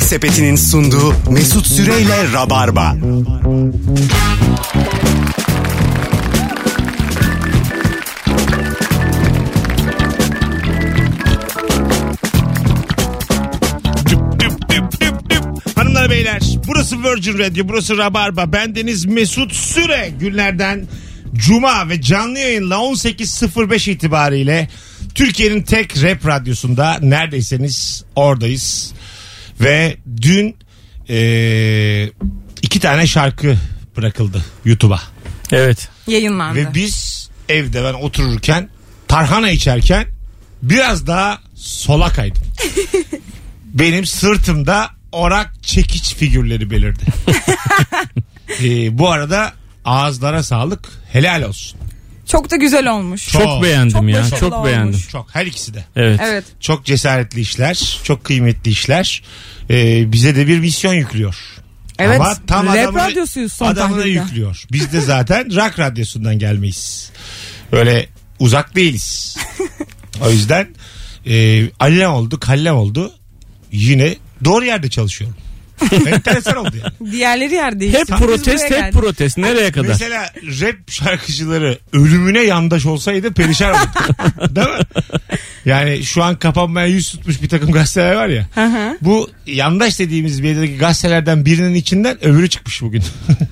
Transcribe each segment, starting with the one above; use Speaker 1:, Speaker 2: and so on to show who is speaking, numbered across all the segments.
Speaker 1: Sepeti'nin sunduğu Mesut Süreyle Rabarba.
Speaker 2: Düp, düp, düp, düp, düp. Hanımlar beyler burası Virgin Radio burası Rabarba bendeniz Mesut Süre günlerden Cuma ve canlı yayınla 18.05 itibariyle Türkiye'nin tek rap radyosunda neredeyseniz oradayız ve dün eee, iki tane şarkı bırakıldı YouTube'a
Speaker 3: Evet.
Speaker 4: Yayınlandı.
Speaker 2: ve biz evde ben otururken tarhana içerken biraz daha sola kaydım. Benim sırtımda orak çekiç figürleri belirdi. Ee, bu arada ağızlara sağlık. Helal olsun.
Speaker 4: Çok da güzel olmuş.
Speaker 2: Çok
Speaker 3: Çok, beğendim
Speaker 4: çok
Speaker 3: ya.
Speaker 4: başarılı
Speaker 3: Çok
Speaker 4: olmuş.
Speaker 3: beğendim.
Speaker 2: Çok her ikisi de.
Speaker 3: Evet.
Speaker 4: Evet.
Speaker 2: Çok cesaretli işler, çok kıymetli işler. Ee, bize de bir misyon yüklüyor.
Speaker 4: Evet.
Speaker 2: Ama tam
Speaker 4: Rap
Speaker 2: adamına-
Speaker 4: radyosuyuz son
Speaker 2: adamına
Speaker 4: tahlilde.
Speaker 2: yüklüyor. Biz de zaten rock radyosundan gelmeyiz. Öyle uzak değiliz. o yüzden e, allem oldu, kallem oldu. Yine doğru yerde çalışıyorum. Enteresan oldu yani.
Speaker 4: Diğerleri yer değişti.
Speaker 3: Hep
Speaker 4: Biz
Speaker 3: protest,
Speaker 4: buraya
Speaker 3: hep
Speaker 4: geldik.
Speaker 3: protest. Nereye kadar?
Speaker 2: Mesela rap şarkıcıları ölümüne yandaş olsaydı perişan olurdu. Değil mi? Yani şu an kapanmaya yüz tutmuş bir takım gazeteler var ya.
Speaker 4: hı.
Speaker 2: bu yandaş dediğimiz bir yerdeki gazetelerden birinin içinden öbürü çıkmış bugün.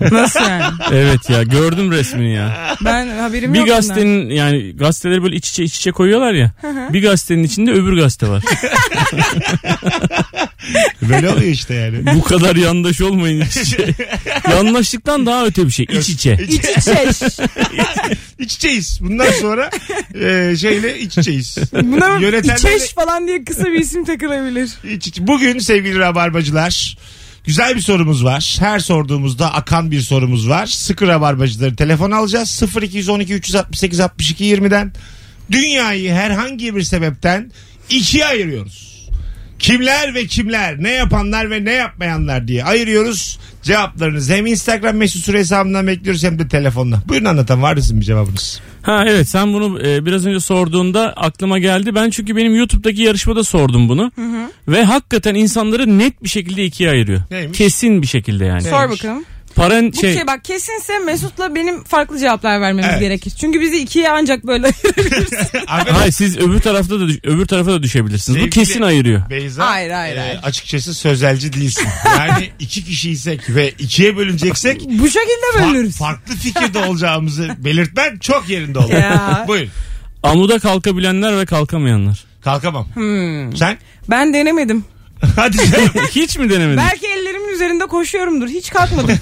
Speaker 4: Nasıl yani?
Speaker 3: evet ya gördüm resmini ya.
Speaker 4: Ben haberim
Speaker 3: Bir
Speaker 4: yok bundan.
Speaker 3: gazetenin yani gazeteleri böyle iç içe iç içe koyuyorlar ya. Bir gazetenin içinde öbür gazete var.
Speaker 2: Böyle oluyor işte yani.
Speaker 3: Bu kadar yandaş olmayın iç içe. Yandaşlıktan daha öte bir şey. iç içe.
Speaker 2: İç,
Speaker 4: İç içe.
Speaker 2: iç içeyiz. Bundan sonra e, şeyle iç içeyiz.
Speaker 4: Buna
Speaker 2: Yönetenlerle
Speaker 4: içeş falan diye kısa bir isim takılabilir.
Speaker 2: iç iç- Bugün sevgili rabarbacılar güzel bir sorumuz var. Her sorduğumuzda akan bir sorumuz var. Sıkı rabarbacıları telefon alacağız. 0212 368 62 20'den dünyayı herhangi bir sebepten ikiye ayırıyoruz. Kimler ve kimler, ne yapanlar ve ne yapmayanlar diye ayırıyoruz. Cevaplarınızı hem Instagram mesut süre hesabından bekliyoruz hem de telefonla. Buyurun anlatan var mısın bir cevabınız?
Speaker 3: Ha evet sen bunu e, biraz önce sorduğunda aklıma geldi. Ben çünkü benim YouTube'daki yarışmada sordum bunu. Ve hakikaten insanları net bir şekilde ikiye ayırıyor.
Speaker 2: Neymiş?
Speaker 3: Kesin bir şekilde yani.
Speaker 2: Evet.
Speaker 4: Sor bakalım.
Speaker 3: Paren
Speaker 4: Bu
Speaker 3: şey,
Speaker 4: şey bak kesinse Mesut'la benim farklı cevaplar vermemiz
Speaker 2: Evet.
Speaker 4: gerekir. Çünkü bizi ikiye ancak böyle
Speaker 2: Ahmet-
Speaker 3: Hayır siz öbür tarafta da düş- öbür tarafa da düşebilirsiniz.
Speaker 2: Sevgili-
Speaker 3: Bu kesin ayırıyor.
Speaker 2: Beyza e,
Speaker 4: Hayır, hayır, hayır.
Speaker 2: açıkçası sözelci değilsin. Yani iki kişiysek ve ikiye bölüneceksek
Speaker 4: bu şekilde
Speaker 2: fa-
Speaker 4: bölünürüz.
Speaker 2: farklı fikirde olacağımızı belirtmen çok yerinde olur.
Speaker 4: Ya.
Speaker 2: Buyur.
Speaker 3: Amuda kalkabilenler ve kalkamayanlar.
Speaker 2: Kalkamam.
Speaker 4: Hmm.
Speaker 2: Sen?
Speaker 4: Ben denemedim.
Speaker 2: Hadi canım.
Speaker 3: Hiç mi denemedin?
Speaker 4: Belki ellerimin üzerinde koşuyorumdur. Hiç kalkmadım.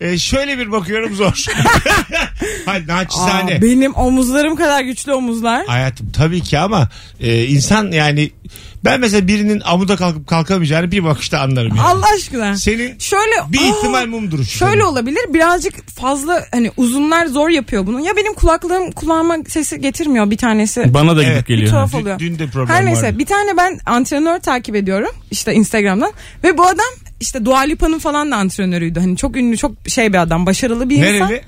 Speaker 2: Ee, şöyle bir bakıyorum zor. Hadi
Speaker 4: Aa,
Speaker 2: naçizane.
Speaker 4: benim omuzlarım kadar güçlü omuzlar.
Speaker 2: Hayatım tabii ki ama e, insan yani ben mesela birinin amuda kalkıp kalkamayacağını bir bakışta anlarım. Yani.
Speaker 4: Allah aşkına.
Speaker 2: Senin
Speaker 4: Şöyle
Speaker 2: Şey- bir
Speaker 4: Aa,
Speaker 2: ihtimal mum duruşu.
Speaker 4: Şöyle
Speaker 2: senin.
Speaker 4: olabilir birazcık fazla hani uzunlar zor yapıyor bunu. Ya benim kulaklığım kulağıma sesi getirmiyor bir tanesi.
Speaker 3: Bana da
Speaker 2: Evet,
Speaker 3: gidip
Speaker 4: bir
Speaker 3: geliyor.
Speaker 4: tuhaf
Speaker 2: Dün-
Speaker 4: oluyor.
Speaker 2: dün de problem
Speaker 4: Her neyse
Speaker 2: vardı.
Speaker 4: bir tane ben antrenör takip ediyorum işte Instagram'dan ve bu adam işte Dua Lipa'nın falan da antrenörüydü. Hani çok ünlü çok şey bir adam başarılı bir insan.
Speaker 2: Nereli?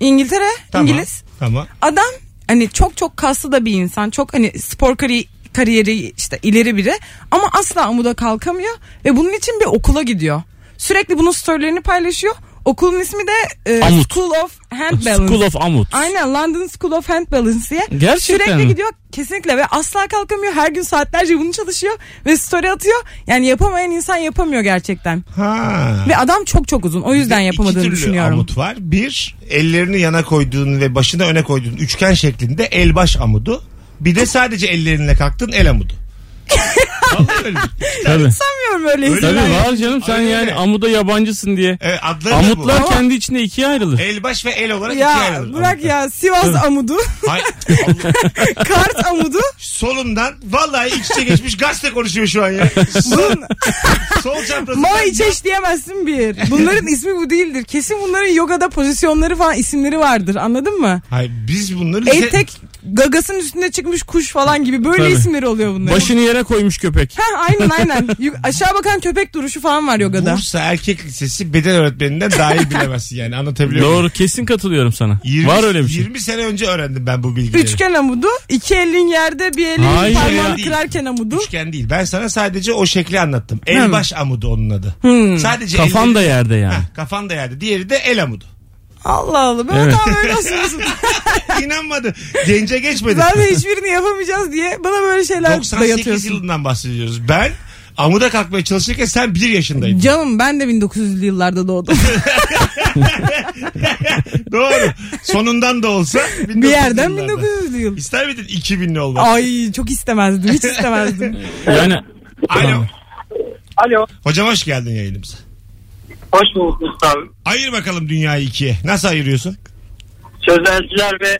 Speaker 4: İngiltere
Speaker 2: Tamam.
Speaker 4: İngiliz.
Speaker 2: Tamam.
Speaker 4: Adam hani çok çok kaslı da bir insan. Çok hani spor kari- kariyeri işte ileri biri ama asla amuda kalkamıyor ve bunun için bir okula gidiyor. Sürekli bunun storylerini paylaşıyor. Okulun ismi de e,
Speaker 3: Amut.
Speaker 4: School of Hand Balance.
Speaker 3: School of Amut.
Speaker 4: Aynen London School of Hand Balance diye.
Speaker 3: Gerçekten
Speaker 4: Sürekli
Speaker 3: mi?
Speaker 4: gidiyor kesinlikle ve asla kalkamıyor. Her gün saatlerce bunu çalışıyor ve story atıyor. Yani yapamayan insan yapamıyor gerçekten.
Speaker 2: Ha.
Speaker 4: Ve adam çok çok uzun. O yüzden
Speaker 2: İki
Speaker 4: yapamadığını
Speaker 2: türlü
Speaker 4: düşünüyorum.
Speaker 2: amut var. Bir, ellerini yana koyduğun ve başını öne koyduğun üçgen şeklinde el baş amudu. Bir de sadece ellerinle kalktın el amudu. Vallahi öyle.
Speaker 3: Tabii.
Speaker 4: Sanmıyorum öyle
Speaker 2: Öyle
Speaker 3: Tabii
Speaker 4: insanlar.
Speaker 3: var canım sen
Speaker 2: Aynen öyle.
Speaker 3: yani amuda yabancısın diye.
Speaker 2: Evet, E, adları da bu.
Speaker 3: Amutlar kendi içinde ikiye ayrılır.
Speaker 2: El baş ve el olarak ikiye
Speaker 4: Ya
Speaker 2: ayrılır.
Speaker 4: bırak ya Sivas amudu,
Speaker 2: Hay- Allah-
Speaker 4: Kart amudu.
Speaker 2: solundan vallahi iç içe geçmiş gazete konuşuyor şu an ya. Sol, sol çaprazından.
Speaker 4: Ma içeş diyemezsin bir. Bunların ismi bu değildir. Kesin bunların yogada pozisyonları falan isimleri vardır. Anladın mı?
Speaker 2: Hayır, biz bunları lise-
Speaker 4: Etek gagasının üstünde çıkmış kuş falan gibi böyle
Speaker 3: Tabii.
Speaker 4: isimleri oluyor bunların.
Speaker 3: Başını yere koymuş köpek.
Speaker 4: Heh, aynen aynen. Yuk- Aşağı bakan köpek duruşu falan var yogada.
Speaker 2: Bursa Erkek Lisesi beden öğretmeninden daha iyi bilemezsin yani anlatabiliyor muyum?
Speaker 3: Doğru kesin katılıyorum sana.
Speaker 2: 20
Speaker 3: Var öyle bir şey.
Speaker 2: 20 sene önce öğrendim ben bu bilgileri.
Speaker 4: Üçgen amudu, iki elin yerde bir elin
Speaker 3: Hayır.
Speaker 4: parmağını
Speaker 2: Değil.
Speaker 4: kırarken amudu.
Speaker 2: Üçgen değil. Ben sana sadece o şekli anlattım. El baş amudu onun adı. Sadece
Speaker 3: Kafan
Speaker 2: elleri-
Speaker 3: da yerde yani.
Speaker 2: Heh, kafan da yerde. Diğeri de el amudu.
Speaker 4: Allah Allah. Böyle
Speaker 3: Evet.
Speaker 4: tam öyle olsun.
Speaker 2: İnanmadı. Gence geçmedi.
Speaker 4: Zaten hiçbirini yapamayacağız diye bana böyle şeyler
Speaker 2: 98
Speaker 4: dayatıyorsun.
Speaker 2: yılından bahsediyoruz. Ben amuda kalkmaya çalışırken sen 1 yaşındaydın.
Speaker 4: Canım ben de 1900'lü yıllarda doğdum.
Speaker 2: Doğru. Sonundan da olsa.
Speaker 4: bir yerden
Speaker 2: 1900'lü yıllarda.
Speaker 4: 1900'lü yıl.
Speaker 2: İster miydin 2000'li olmak?
Speaker 4: Ay çok istemezdim. Hiç istemezdim.
Speaker 3: Yani
Speaker 2: Alo.
Speaker 5: Alo.
Speaker 2: Hocam hoş geldin yayınımıza.
Speaker 5: Hoş bulduk Mustafa.
Speaker 2: Ayır bakalım dünyayı ikiye. Nasıl ayırıyorsun?
Speaker 5: Sözelciler ve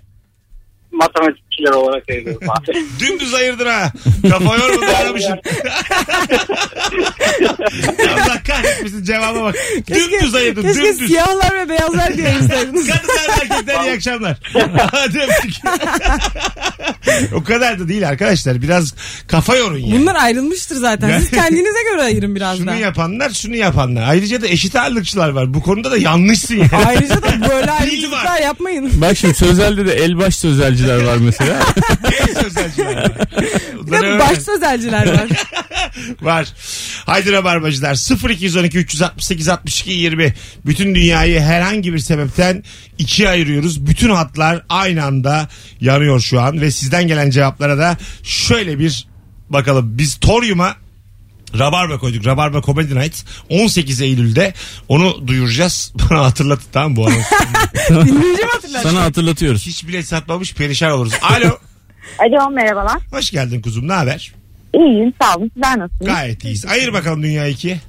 Speaker 5: matematikçiler olarak ayırıyorum abi.
Speaker 2: Dümdüz ayırdın ha. Kafa yormadan aramışsın. Allah kahretmesin cevaba bak. Dümdüz ayırdın.
Speaker 4: keşke
Speaker 2: Dümdüz.
Speaker 4: siyahlar ve beyazlar diye ayırsaydınız.
Speaker 2: Kadınlar ve erkekler iyi akşamlar. Hadi öptük. o kadar da değil arkadaşlar. Biraz kafa yorun yani.
Speaker 4: Bunlar ayrılmıştır zaten. Siz kendinize göre ayırın biraz
Speaker 2: Şunu
Speaker 4: daha.
Speaker 2: yapanlar şunu yapanlar. Ayrıca da eşit ağırlıkçılar var. Bu konuda da yanlışsın yani.
Speaker 4: Ayrıca da böyle
Speaker 2: var.
Speaker 4: ayrıcalıklar yapmayın.
Speaker 3: bak şimdi sözelde de elbaş sözelciler var mesela.
Speaker 2: En sözelciler var.
Speaker 4: Bir de
Speaker 2: Bunları
Speaker 4: baş
Speaker 2: öğren.
Speaker 4: sözelciler var.
Speaker 2: Var. Haydi Rabarbacılar 0212 368 62 20. Bütün dünyayı herhangi bir sebepten ikiye ayırıyoruz. Bütün hatlar aynı anda yanıyor şu an ve sizden gelen cevaplara da şöyle bir bakalım. Biz Torium'a Rabarba koyduk. Rabarba Comedy Night 18 Eylül'de onu duyuracağız. Bana hatırlatın tamam mı bu anonsu?
Speaker 4: Dinleyeceğim hatırlar.
Speaker 3: Sana hatırlatıyoruz.
Speaker 2: Hiç bilet satmamış perişan oluruz. Alo.
Speaker 6: Alo merhabalar.
Speaker 2: Hoş geldin kuzum ne haber?
Speaker 6: İyiyim sağ olun. Sizler nasılsınız?
Speaker 2: Gayet iyiyiz. Ayır bakalım dünyayı ikiye.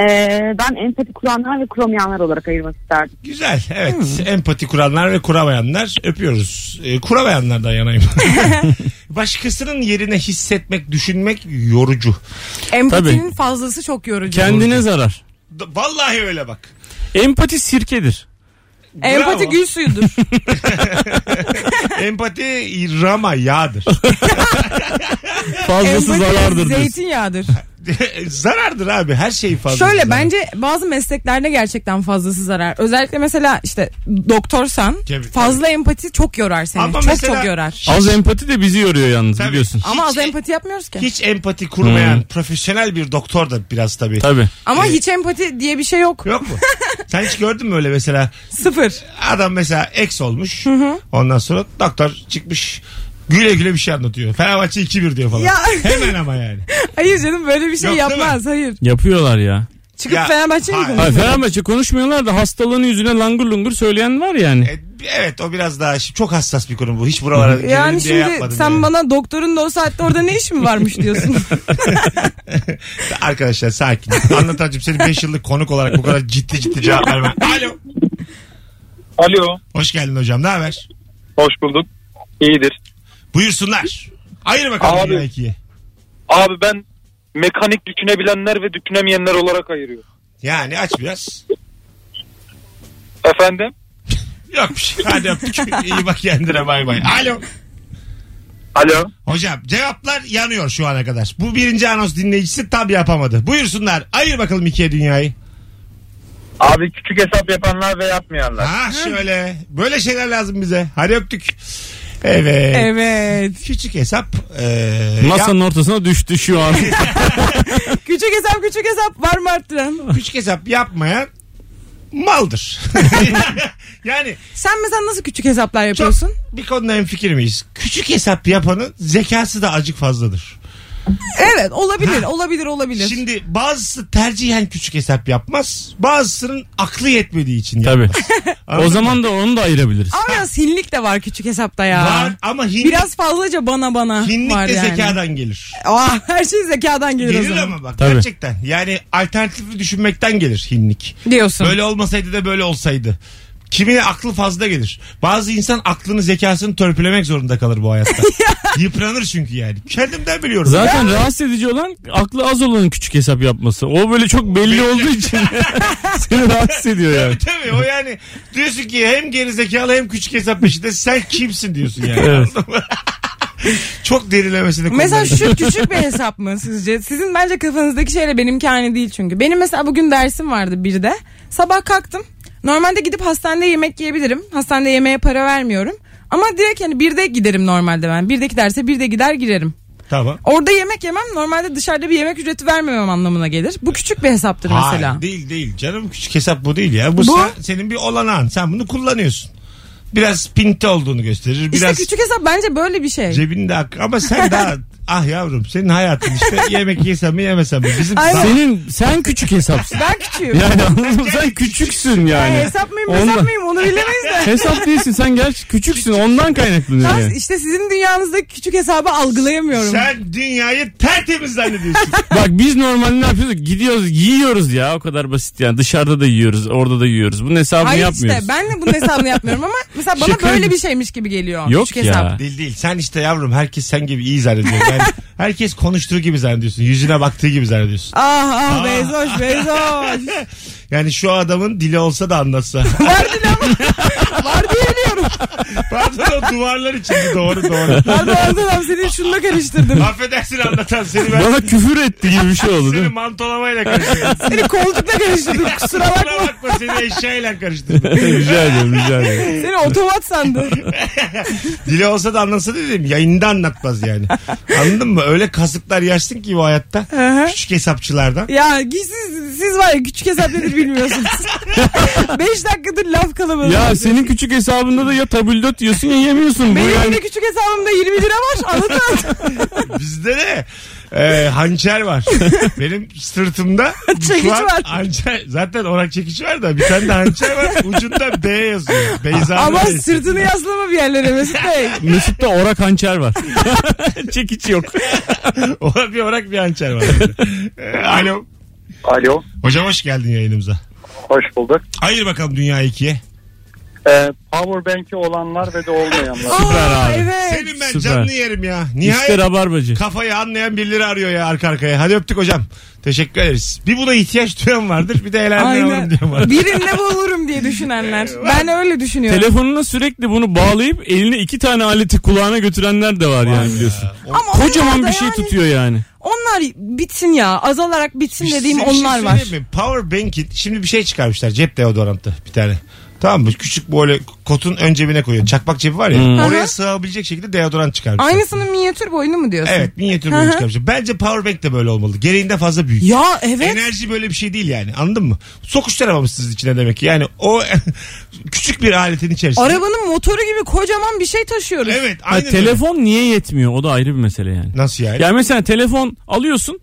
Speaker 6: Ee, ben empati kuranlar ve kuramayanlar olarak ayırmak isterdim.
Speaker 2: Güzel evet
Speaker 4: Hmm.
Speaker 2: empati kuranlar ve kuramayanlar öpüyoruz. Ee, kuramayanlardan yanayım. Başkasının yerine hissetmek, düşünmek yorucu.
Speaker 4: Empatinin fazlası çok yorucu.
Speaker 3: Kendine zarar.
Speaker 2: Da- Vallahi öyle bak.
Speaker 3: Empati sirkedir.
Speaker 4: Empati
Speaker 2: Bravo.
Speaker 4: gül suyudur.
Speaker 2: Empati rama yağdır.
Speaker 3: Fazlası
Speaker 4: Empati
Speaker 3: zarardır diyorsun.
Speaker 4: zeytinyağıdır.
Speaker 2: Zarardır abi her şey fazla.
Speaker 4: Şöyle
Speaker 2: zarar.
Speaker 4: bence bazı mesleklerde gerçekten fazlası zarar. Özellikle mesela işte doktorsan
Speaker 2: Tabii,
Speaker 4: fazla empati çok yorar seni.
Speaker 2: Ama
Speaker 4: çok
Speaker 2: mesela-
Speaker 4: çok yorar.
Speaker 3: Az empati de bizi yoruyor yalnız
Speaker 2: Tabii.
Speaker 3: biliyorsun.
Speaker 4: Ama az
Speaker 2: Hiç-
Speaker 4: empati yapmıyoruz ki.
Speaker 2: Hiç empati kurmayan profesyonel bir doktor da biraz tabii.
Speaker 3: Tabii.
Speaker 4: Ama hiç empati diye bir şey yok.
Speaker 2: Yok mu? Sen hiç gördün mü öyle mesela
Speaker 4: Sıfır.
Speaker 2: adam mesela ex olmuş. Ondan sonra doktor çıkmış güle güle bir şey anlatıyor. Fenerbahçe 2-1 diyor falan.
Speaker 4: Ya.
Speaker 2: Hemen ama yani.
Speaker 4: Hayır canım böyle bir şey
Speaker 2: Yok, değil mi?
Speaker 4: yapmaz. Hayır.
Speaker 3: Yapıyorlar ya.
Speaker 4: Çıkıp
Speaker 2: Ya,
Speaker 4: Fenerbahçe'yi
Speaker 2: hayır.
Speaker 4: konuşuyor.
Speaker 3: Ay Fenerbahçe konuşmuyorlar da hastalığını yüzüne langur lungur söyleyen var yani.
Speaker 2: E, Evet o biraz daha şi- çok hassas bir konu bu. Hiç buralara gelelim
Speaker 4: Yani
Speaker 2: diye
Speaker 4: şimdi
Speaker 2: yapmadım.
Speaker 4: sen
Speaker 2: yani.
Speaker 4: bana doktorun da o saatte orada ne işin varmış diyorsun.
Speaker 2: Arkadaşlar sakin. Anlatacağım seni 5 yıllık konuk olarak bu kadar ciddi ciddi cevap vermem. Alo.
Speaker 5: Alo.
Speaker 2: Hoş geldin hocam ne haber?
Speaker 5: Hoş bulduk. İyidir.
Speaker 2: Buyursunlar. Ayır bakalım
Speaker 5: Abi.
Speaker 2: dünya ikiye.
Speaker 5: Abi ben mekanik düşünebilenler ve düşünemeyenler olarak ayırıyorum.
Speaker 2: Yani aç biraz.
Speaker 5: Efendim?
Speaker 2: Yok bir şey. Hadi öptük. İyi bak kendine bay bay. Alo.
Speaker 5: Alo.
Speaker 2: Hocam cevaplar yanıyor şu ana kadar. Bu birinci anons dinleyicisi tam yapamadı. Buyursunlar. Ayır bakalım ikiye dünyayı.
Speaker 5: Abi küçük hesap yapanlar ve yapmayanlar.
Speaker 2: Ha Ah, şöyle. Böyle şeyler lazım bize. Hadi öptük. Evet.
Speaker 4: evet.
Speaker 2: Küçük hesap. E, yap-
Speaker 3: Masanın ortasına düştü şu an.
Speaker 4: Küçük hesap küçük hesap var mı arttıran?
Speaker 2: küçük hesap yapmayan maldır. yani
Speaker 4: Sen mesela nasıl küçük hesaplar
Speaker 2: çok
Speaker 4: yapıyorsun?
Speaker 2: bir konuda en fikir miyiz? Küçük hesap yapanın zekası da acık fazladır.
Speaker 4: Evet olabilir olabilir olabilir.
Speaker 2: Şimdi bazısı tercihen küçük hesap yapmaz. Bazısının aklı yetmediği için yapmaz.
Speaker 3: Tabii.
Speaker 2: Anladın
Speaker 3: O
Speaker 2: mı?
Speaker 3: zaman da onu da ayırabiliriz.
Speaker 4: Ama biraz hinlik de var küçük hesapta ya.
Speaker 2: var ama hinlik,
Speaker 4: Biraz fazlaca bana bana
Speaker 2: hinlik
Speaker 4: Ah, var
Speaker 2: de
Speaker 4: yani.
Speaker 2: zekadan gelir.
Speaker 4: Aa, her şey zekadan gelir, o
Speaker 2: Gelir
Speaker 4: zaman.
Speaker 2: ama bak
Speaker 3: Tabii.
Speaker 2: gerçekten. Yani alternatifli düşünmekten gelir hinlik.
Speaker 4: Diyorsun.
Speaker 2: Böyle olmasaydı da böyle olsaydı Kimine aklı fazla gelir. Bazı insan aklını zekasını törpülemek zorunda kalır bu hayatta. Yıpranır çünkü yani. Kendimden biliyorum.
Speaker 3: Zaten rahatsız edici olan aklı az olanın küçük hesap yapması. O böyle çok belli olduğu için seni rahatsız ediyor yani.
Speaker 2: Tabii o yani diyorsun ki hem geri zekalı hem küçük hesap peşinde sen kimsin diyorsun yani.
Speaker 3: Evet.
Speaker 2: Anladın mı? Çok derinlemesine konuları.
Speaker 4: Mesela şu küçük bir hesap mı sizce? Sizin bence kafanızdaki şeyle benimki aynı değil çünkü. Benim mesela bugün dersim vardı bir de. Sabah kalktım. Normalde gidip hastanede yemek yiyebilirim. Hastanede yemeğe para vermiyorum. Ama direkt hani birde giderim normalde ben. Birdeki derse birde gider girerim.
Speaker 2: Tamam.
Speaker 4: Orada yemek yemem normalde dışarıda bir yemek ücreti vermemem anlamına gelir. Bu küçük bir hesaptır mesela.
Speaker 2: Hayır, değil değil canım küçük hesap bu değil ya. Bu,
Speaker 4: Bu-
Speaker 2: sen- senin bir olanağın. Sen bunu kullanıyorsun. Biraz pinti olduğunu gösterir.
Speaker 4: İşte
Speaker 2: Biraz
Speaker 4: küçük hesap bence böyle bir şey.
Speaker 2: cebinde hak. Ama sen daha ah yavrum senin hayatın işte yemek yesem mi yemesem mi? Bizim
Speaker 4: Aynen.
Speaker 3: Senin sen küçük hesapsın.
Speaker 4: Ben küçüğüm.
Speaker 3: Yani anladın mı? Sen küçüksün
Speaker 4: Yani
Speaker 3: yani.
Speaker 4: E, hesap mıyım
Speaker 3: Ondan-
Speaker 4: hesap mıyım onu bilemeyiz de.
Speaker 3: Hesap değilsin sen gerçi küçüksün ondan kaynaklanıyor
Speaker 4: Ben
Speaker 3: yani.
Speaker 4: işte sizin dünyanızdaki küçük hesabı algılayamıyorum.
Speaker 2: sen dünyayı tertemiz zannediyorsun.
Speaker 3: Bak biz normalde ne yapıyoruz? Gidiyoruz yiyoruz ya o kadar basit yani. Dışarıda da yiyoruz orada da yiyoruz. Bunun hesabını
Speaker 4: Hayır
Speaker 3: yapmıyoruz.
Speaker 4: işte ben de bunun hesabını yapmıyorum ama mesela bana
Speaker 3: Şaka
Speaker 4: böyle
Speaker 3: gibi.
Speaker 4: bir şeymiş gibi geliyor.
Speaker 3: Yok
Speaker 4: küçük
Speaker 3: ya.
Speaker 4: Hesap.
Speaker 2: değil değil. Sen işte yavrum herkes sen gibi iyi zannediyor. Yani herkes konuştuğu gibi zannediyorsun. Yüzüne baktığı gibi zannediyorsun.
Speaker 4: Ah ah Bezoş Bezoş.
Speaker 2: Yani şu adamın dili olsa da anlatsa.
Speaker 4: Var dil ama. Var diyemiyorum.
Speaker 2: Pardon o duvarlar içinde doğru doğru.
Speaker 4: Pardon Anzalem seni şununla karıştırdım.
Speaker 2: Affedersin anlatan seni ben
Speaker 3: Bana küfür etti gibi bir şey oldu değil
Speaker 2: seni
Speaker 3: mi?
Speaker 2: mantolamayla karıştırdım.
Speaker 4: Seni koltukla karıştırdım kusura
Speaker 2: Kusura
Speaker 4: bakma.
Speaker 2: bakma seni eşeğiyle karıştırdım.
Speaker 3: rica ediyorum rica ediyorum.
Speaker 4: Seni otomat sandı.
Speaker 2: Dili olsa da anlatsa dedim yayında anlatmaz yani. Anladın mı? Öyle kasıklar yaşsın ki bu hayatta.
Speaker 4: hı.
Speaker 2: Küçük hesapçılardan.
Speaker 4: Ya siz, siz var ya küçük hesap nedir bilmiyorsunuz. Beş dakikadır laf kalabalığı.
Speaker 3: Ya senin küçük hesabında da ya tabldot yiyorsun ya yemiyorsun. Bu
Speaker 4: Benim
Speaker 3: yani
Speaker 4: de küçük hesabımda 20 lira var anladın mı?
Speaker 2: Bizde de e, hançer var. Benim sırtımda
Speaker 4: Çekiç
Speaker 2: şu an
Speaker 4: var.
Speaker 2: Hançer, zaten orak çekiç var da bir tane de hançer var. Ucunda B yazıyor. Beyza
Speaker 4: Ama
Speaker 2: Bey.
Speaker 4: sırtını yaslama bir yerlere Mesut Bey.
Speaker 3: Mesut'ta ora hançer var. Çekiç yok.
Speaker 2: O bir orak bir hançer var. E, Alo.
Speaker 5: Alo.
Speaker 2: Hocam hoş geldin yayınımıza.
Speaker 5: Hoş bulduk.
Speaker 2: Ayır bakalım dünya ikiye.
Speaker 5: Ee, Powerbank'i olanlar ve de olmayanlar.
Speaker 3: Süper
Speaker 4: Aa,
Speaker 3: abi.
Speaker 4: Evet.
Speaker 2: Senin ben
Speaker 3: süper.
Speaker 2: canını yerim ya. Nihayet
Speaker 3: İşte rabarbacı.
Speaker 2: kafayı anlayan birileri arıyor ya arka arkaya. Hadi öptük hocam. Teşekkür ederiz. Bir buna ihtiyaç duyan vardır. Bir de elenmeyen alırım diyen vardır.
Speaker 4: Birinde bulurum diye düşünenler. Ben öyle düşünüyorum.
Speaker 3: Telefonuna sürekli bunu bağlayıp eline iki tane aleti kulağına götürenler de var yani biliyorsun.
Speaker 4: Ama onlar
Speaker 3: Kocaman
Speaker 4: da
Speaker 3: bir şey
Speaker 4: yani-
Speaker 3: tutuyor yani.
Speaker 4: Onlar bitsin ya. Azalarak bitsin dediğim
Speaker 2: Size bir şey
Speaker 4: onlar var.
Speaker 2: söyleyeyim mi? Power Bank'in şimdi bir şey çıkarmışlar cep deodorantı bir tane. Tamam mı? Küçük böyle kotun ön cebine koyuyor. Çakmak cebi var ya. Oraya
Speaker 4: Aha.
Speaker 2: sığabilecek şekilde deodorant çıkarmışlar.
Speaker 4: Aynısının minyatür boyunu mu diyorsun?
Speaker 2: Evet minyatür böyle
Speaker 4: Aha.
Speaker 2: çıkarmışlar. Bence Power Bank de böyle olmalı. Gereğinden fazla büyük.
Speaker 4: Ya evet.
Speaker 2: Enerji böyle bir şey değil yani anladın mı? Sokuşturamamışsınız içine demek ki. Yani o küçük bir aletin içerisinde.
Speaker 4: Arabanın motoru gibi kocaman bir şey taşıyoruz.
Speaker 2: Evet
Speaker 3: Ha,
Speaker 2: aynen öyle.
Speaker 3: telefon niye yetmiyor? O da ayrı bir mesele yani.
Speaker 2: Nasıl yani?
Speaker 3: Ya mesela telefon alıyorsun.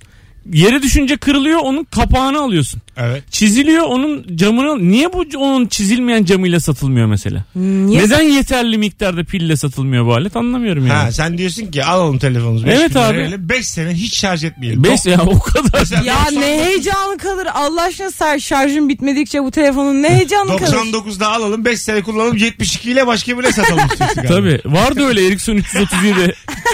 Speaker 3: Yere düşünce kırılıyor onun kapağını alıyorsun.
Speaker 2: Evet.
Speaker 3: Çiziliyor onun camını. Niye bu onun çizilmeyen camıyla satılmıyor mesela?
Speaker 4: Niye?
Speaker 3: Neden yeterli miktarda pille satılmıyor bu alet anlamıyorum yani.
Speaker 2: Ha, sen diyorsun ki alalım telefonunuzu.
Speaker 3: Evet abi.
Speaker 2: 5 sene hiç şarj etmeyelim.
Speaker 3: Beş ya o kadar.
Speaker 2: Mesela
Speaker 4: Ya
Speaker 2: 90
Speaker 4: ne heyecanı kalır Allah aşkına sen şarjın bitmedikçe bu telefonun ne heyecanı kalır.
Speaker 2: 99'da alalım 5 sene kullanalım 72 ile başka bile satalım istiyorsun galiba.
Speaker 3: Tabii. Vardı öyle Ericsson 337.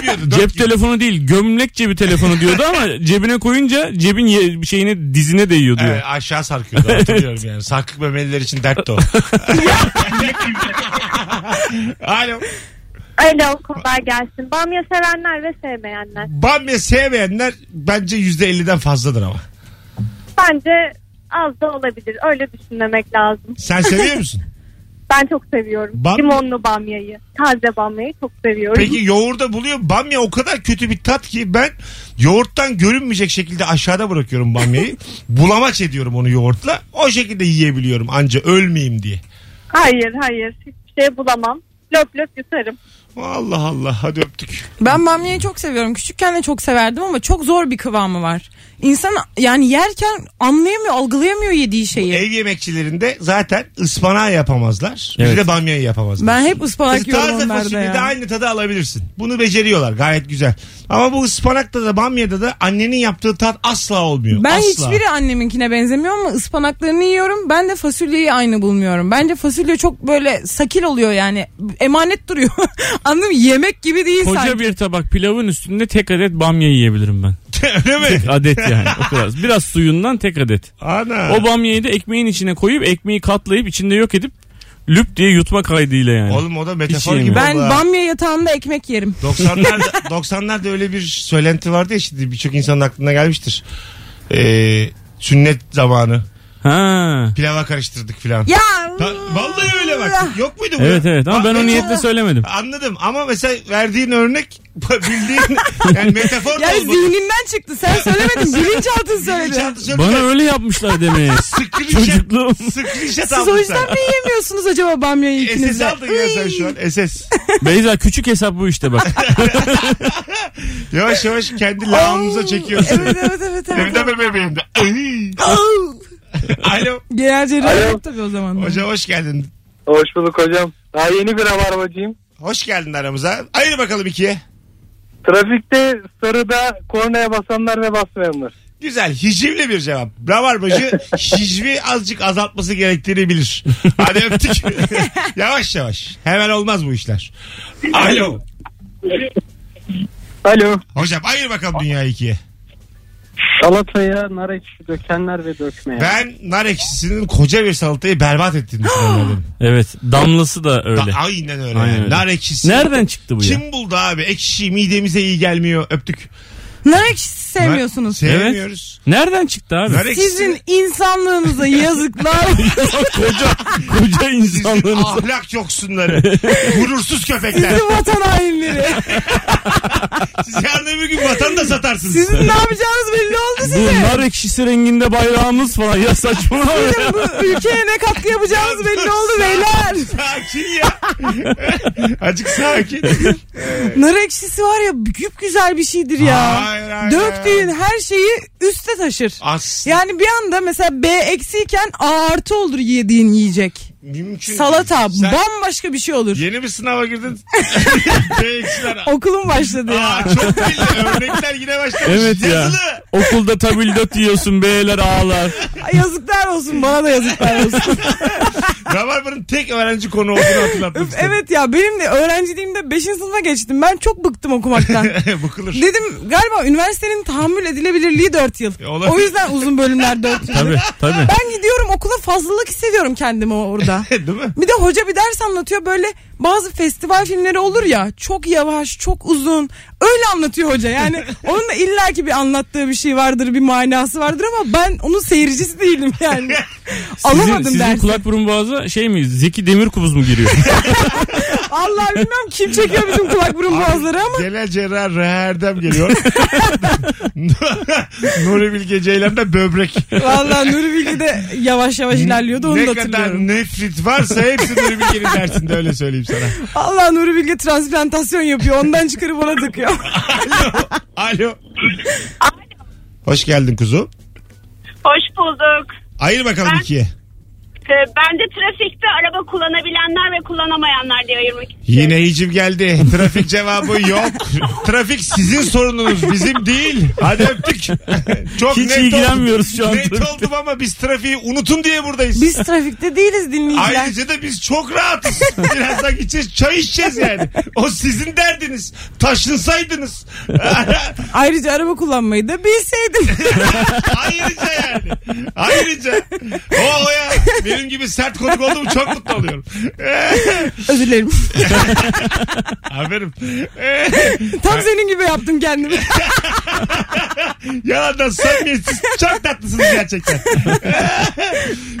Speaker 2: Diyordu, dört
Speaker 3: Cep
Speaker 2: gibi.
Speaker 3: telefonu değil gömlek cebi telefonu diyordu ama cebine koyunca cebin ye- şeyine dizine değiyor diyor.
Speaker 2: Evet, aşağı sarkıyordu hatırlıyorum yani. Sarkık memeliler için dert de o. Alo.
Speaker 7: Alo kolay gelsin. Bamya sevenler ve sevmeyenler.
Speaker 2: Bamya sevmeyenler bence %50'den fazladır ama.
Speaker 7: Bence az da olabilir. Öyle düşünmemek lazım.
Speaker 2: Sen seviyor musun?
Speaker 7: Ben çok seviyorum.
Speaker 2: Bamya-
Speaker 7: Limonlu bamyayı. Taze bamyayı çok seviyorum.
Speaker 2: Peki yoğurda buluyor. Bamya o kadar kötü bir tat ki ben yoğurttan görünmeyecek şekilde aşağıda bırakıyorum bamyayı. Bulamaç ediyorum onu yoğurtla. O şekilde yiyebiliyorum anca ölmeyeyim diye.
Speaker 7: Hayır hayır. Hiçbir şey bulamam. Löp löp yutarım.
Speaker 2: Allah Allah hadi öptük.
Speaker 4: Ben bamyayı çok seviyorum. Küçükken de çok severdim ama çok zor bir kıvamı var. İnsan yani yerken anlayamıyor, algılayamıyor yediği şeyi.
Speaker 2: Ev yemekçilerinde zaten ıspanağı yapamazlar. Bir
Speaker 3: Evet.
Speaker 2: de bamyayı yapamazlar.
Speaker 4: Ben hep ıspanak yiyorum
Speaker 2: e- Taze
Speaker 4: onlarda
Speaker 2: fasulyede
Speaker 4: ya.
Speaker 2: aynı tadı alabilirsin. Bunu beceriyorlar gayet güzel. Ama bu ıspanakta da bamyada da annenin yaptığı tat asla olmuyor.
Speaker 4: Ben
Speaker 2: asla.
Speaker 4: hiçbiri anneminkine benzemiyor ama ıspanaklarını yiyorum. Ben de fasulyeyi aynı bulmuyorum. Bence fasulye çok böyle sakil oluyor yani. Emanet duruyor. Anladın mı? Yemek gibi değil sanki.
Speaker 3: Koca bir tabak pilavın üstünde tek adet bamya yiyebilirim ben.
Speaker 2: Öyle mi?
Speaker 3: Tek adet yani o kadar. Biraz suyundan tek adet.
Speaker 2: Ana.
Speaker 3: O bamyayı da ekmeğin içine koyup ekmeği katlayıp içinde yok edip lüp diye yutma kaydıyla yani.
Speaker 2: Oğlum o da metafor
Speaker 3: Hiç
Speaker 2: gibi.
Speaker 4: Ben
Speaker 2: oldu ha.
Speaker 4: bamya yatağında ekmek yerim.
Speaker 2: 90'larda 90'larda öyle bir söylenti vardı ya şimdi birçok insanın aklına gelmiştir. Ee, sünnet zamanı.
Speaker 3: Ha.
Speaker 2: Pilava karıştırdık filan.
Speaker 4: Ya
Speaker 2: Ta- Vallahi öyle bak. Yok muydu bu?
Speaker 3: Evet
Speaker 2: ya?
Speaker 3: evet
Speaker 2: Bak-
Speaker 3: ama ben o niyetle söylemedim.
Speaker 2: Anladım ama mesela verdiğin örnek bildiğin yani metafor da
Speaker 4: yani
Speaker 2: olmadı.
Speaker 4: zihninden çıktı. Sen söylemedin. Bilinçaltın söyledi.
Speaker 2: Bilinçaltı söyledi.
Speaker 3: Bana öyle yapmışlar demeyi.
Speaker 2: Screenshot-
Speaker 3: Çocukluğum.
Speaker 2: Screenshot
Speaker 4: Siz
Speaker 2: aldın
Speaker 4: o
Speaker 2: sen.
Speaker 4: yüzden mi yiyemiyorsunuz acaba bamyayı ikiniz
Speaker 2: SS
Speaker 4: de?
Speaker 2: aldın ya sen şu an. SS.
Speaker 3: Beyza küçük hesap bu işte bak.
Speaker 2: Yavaş yavaş kendi lağımıza çekiyorsun.
Speaker 4: Evet evet evet. evet.
Speaker 2: Evde mi bebeğim de. Alo.
Speaker 4: Genel cerrahi
Speaker 5: Alo.
Speaker 4: yok tabii o zaman. da.
Speaker 2: Hocam hoş geldin.
Speaker 5: Hoş bulduk hocam. Daha yeni bir rabarbacıyım.
Speaker 2: Hoş geldin aramıza. Ayır bakalım ikiye.
Speaker 5: Trafikte sarıda kornaya basanlar ve basmayanlar.
Speaker 2: Güzel. Hicivli bir cevap. Rabarbacı hicvi azıcık azaltması gerektiğini bilir. Hadi öptük. yavaş yavaş. Hemen olmaz bu işler. Alo.
Speaker 5: Alo.
Speaker 2: Hocam ayır bakalım dünyayı ikiye.
Speaker 8: Salataya nar ekşisi dökenler ve dökmeyen.
Speaker 2: Ben nar ekşisinin koca bir salatayı berbat ettiğini düşünüyorum.
Speaker 3: Evet damlası da
Speaker 2: Da-
Speaker 3: öyle.
Speaker 2: Aynen öyle.
Speaker 3: Aynen öyle.
Speaker 2: Nar ekşisi.
Speaker 3: Nereden çıktı bu ya?
Speaker 2: Kim buldu abi? Ekşi midemize iyi gelmiyor. Öptük.
Speaker 4: Nar ekşisi sevmiyorsunuz.
Speaker 2: Nar- Sevmiyoruz.
Speaker 3: Nereden çıktı abi?
Speaker 2: Nar ekşisi.
Speaker 4: Sizin insanlığınıza yazıklar.
Speaker 3: koca koca
Speaker 2: sizin
Speaker 3: insanlığınız.
Speaker 2: ahlak yoksunları. Gurursuz köpekler.
Speaker 4: Sizin vatan hainleri.
Speaker 2: Siz yarın öbür gün vatan da satarsınız.
Speaker 4: Sizin ne yapacağınız belli oldu
Speaker 3: Bu
Speaker 4: size.
Speaker 3: nar ekşisi renginde bayrağımız falan ya saçmalama ya.
Speaker 4: Bu ülkeye ne katkı yapacağınız belli oldu beyler.
Speaker 2: Sakin ya. Acık sakin.
Speaker 4: Nar ekşisi var ya güp güzel bir şeydir ya.
Speaker 2: Hayır, hayır.
Speaker 4: Döktüğün her şeyi üste taşır.
Speaker 2: As
Speaker 4: Yani bir anda mesela B eksiyken A artı olur yediğin yiyecek.
Speaker 2: mümkün.
Speaker 4: Salata
Speaker 2: Sen
Speaker 4: bambaşka bir şey olur.
Speaker 2: Yeni bir sınava girdin. Eksiler.
Speaker 4: Okulum başladı ya.
Speaker 2: Aa, çok belli. Örnekler yine başlamış.
Speaker 3: Evet ya.
Speaker 2: Yazılı.
Speaker 3: Okulda tabildot yiyorsun beyler ağlar.
Speaker 4: Ay, Yazıklar olsun bana da yazıklar olsun.
Speaker 2: Rabarba'nın tek öğrenci konu olduğunu hatırlatmak istedim.
Speaker 4: evet ya benim de öğrenciliğimde 5. sınıfa geçtim. Ben çok bıktım okumaktan.
Speaker 2: Bıkılır.
Speaker 4: Dedim galiba üniversitenin tahammül edilebilirliği 4 yıl.
Speaker 2: E, olabilir.
Speaker 4: O yüzden uzun bölümler 4 yıl.
Speaker 3: Tabii tabii.
Speaker 4: Ben gidiyorum okula fazlalık hissediyorum kendimi orada.
Speaker 2: Değil mi?
Speaker 4: Bir de hoca bir ders anlatıyor böyle bazı festival filmleri olur ya çok yavaş çok uzun öyle anlatıyor hoca yani onun da illaki bir anlattığı bir şey vardır bir manası vardır ama ben onun seyircisi değilim yani
Speaker 3: Sizin,
Speaker 4: alamadım
Speaker 3: sizin
Speaker 4: dersi
Speaker 3: kulak burun boğaza şey mi Zeki Demirkubuz mu giriyor?
Speaker 4: Allah bilmiyorum kim çekiyor bizim kulak burun boğazları ama
Speaker 2: Genel cerrah Reha Erdem geliyor. Nuri Bilge Ceylan da böbrek.
Speaker 4: Vallahi Nuri Bilge de yavaş yavaş ilerliyordu onu
Speaker 2: ne
Speaker 4: da
Speaker 2: kadar
Speaker 4: hatırlıyorum.
Speaker 2: nefret varsa hepsi Nuri Bilge'nin dersinde öyle söyleyeyim sana.
Speaker 4: Allah Nuri Bilge transplantasyon yapıyor ondan çıkarıp ona takıyor.
Speaker 2: Alo. Hoş geldin kuzu.
Speaker 9: Hoş bulduk.
Speaker 2: Ayır bakalım
Speaker 9: Ben-
Speaker 2: ikiye.
Speaker 9: Ee, Ben de trafikte araba kullanabilenler ve kullanamayanlar diye ayırmak istiyorum.
Speaker 2: Yine hicim geldi. Trafik cevabı yok. Trafik sizin sorununuz bizim değil. Hadi öptük. Çok
Speaker 3: Hiç
Speaker 2: net
Speaker 3: ilgilenmiyoruz
Speaker 2: oldum.
Speaker 3: şu an
Speaker 2: Net
Speaker 3: trafikte.
Speaker 2: oldum ama biz trafiği unutun diye buradayız.
Speaker 4: Biz trafikte değiliz dinleyiciler.
Speaker 2: Ayrıca da biz çok rahatız. Birazdan gideceğiz çay içeceğiz yani. O sizin derdiniz. Taşınsaydınız.
Speaker 4: Ayrıca araba kullanmayı da bilseydin.
Speaker 2: Ayrıca yani. Ayrıca. O, o ya. Benim gibi sert konuk olduğum çok mutlu oluyorum.
Speaker 4: Özür dilerim.
Speaker 2: Aferin.
Speaker 4: Tam senin gibi yaptım kendimi.
Speaker 2: Yalandan samimiyetsiz. Çok tatlısınız gerçekten.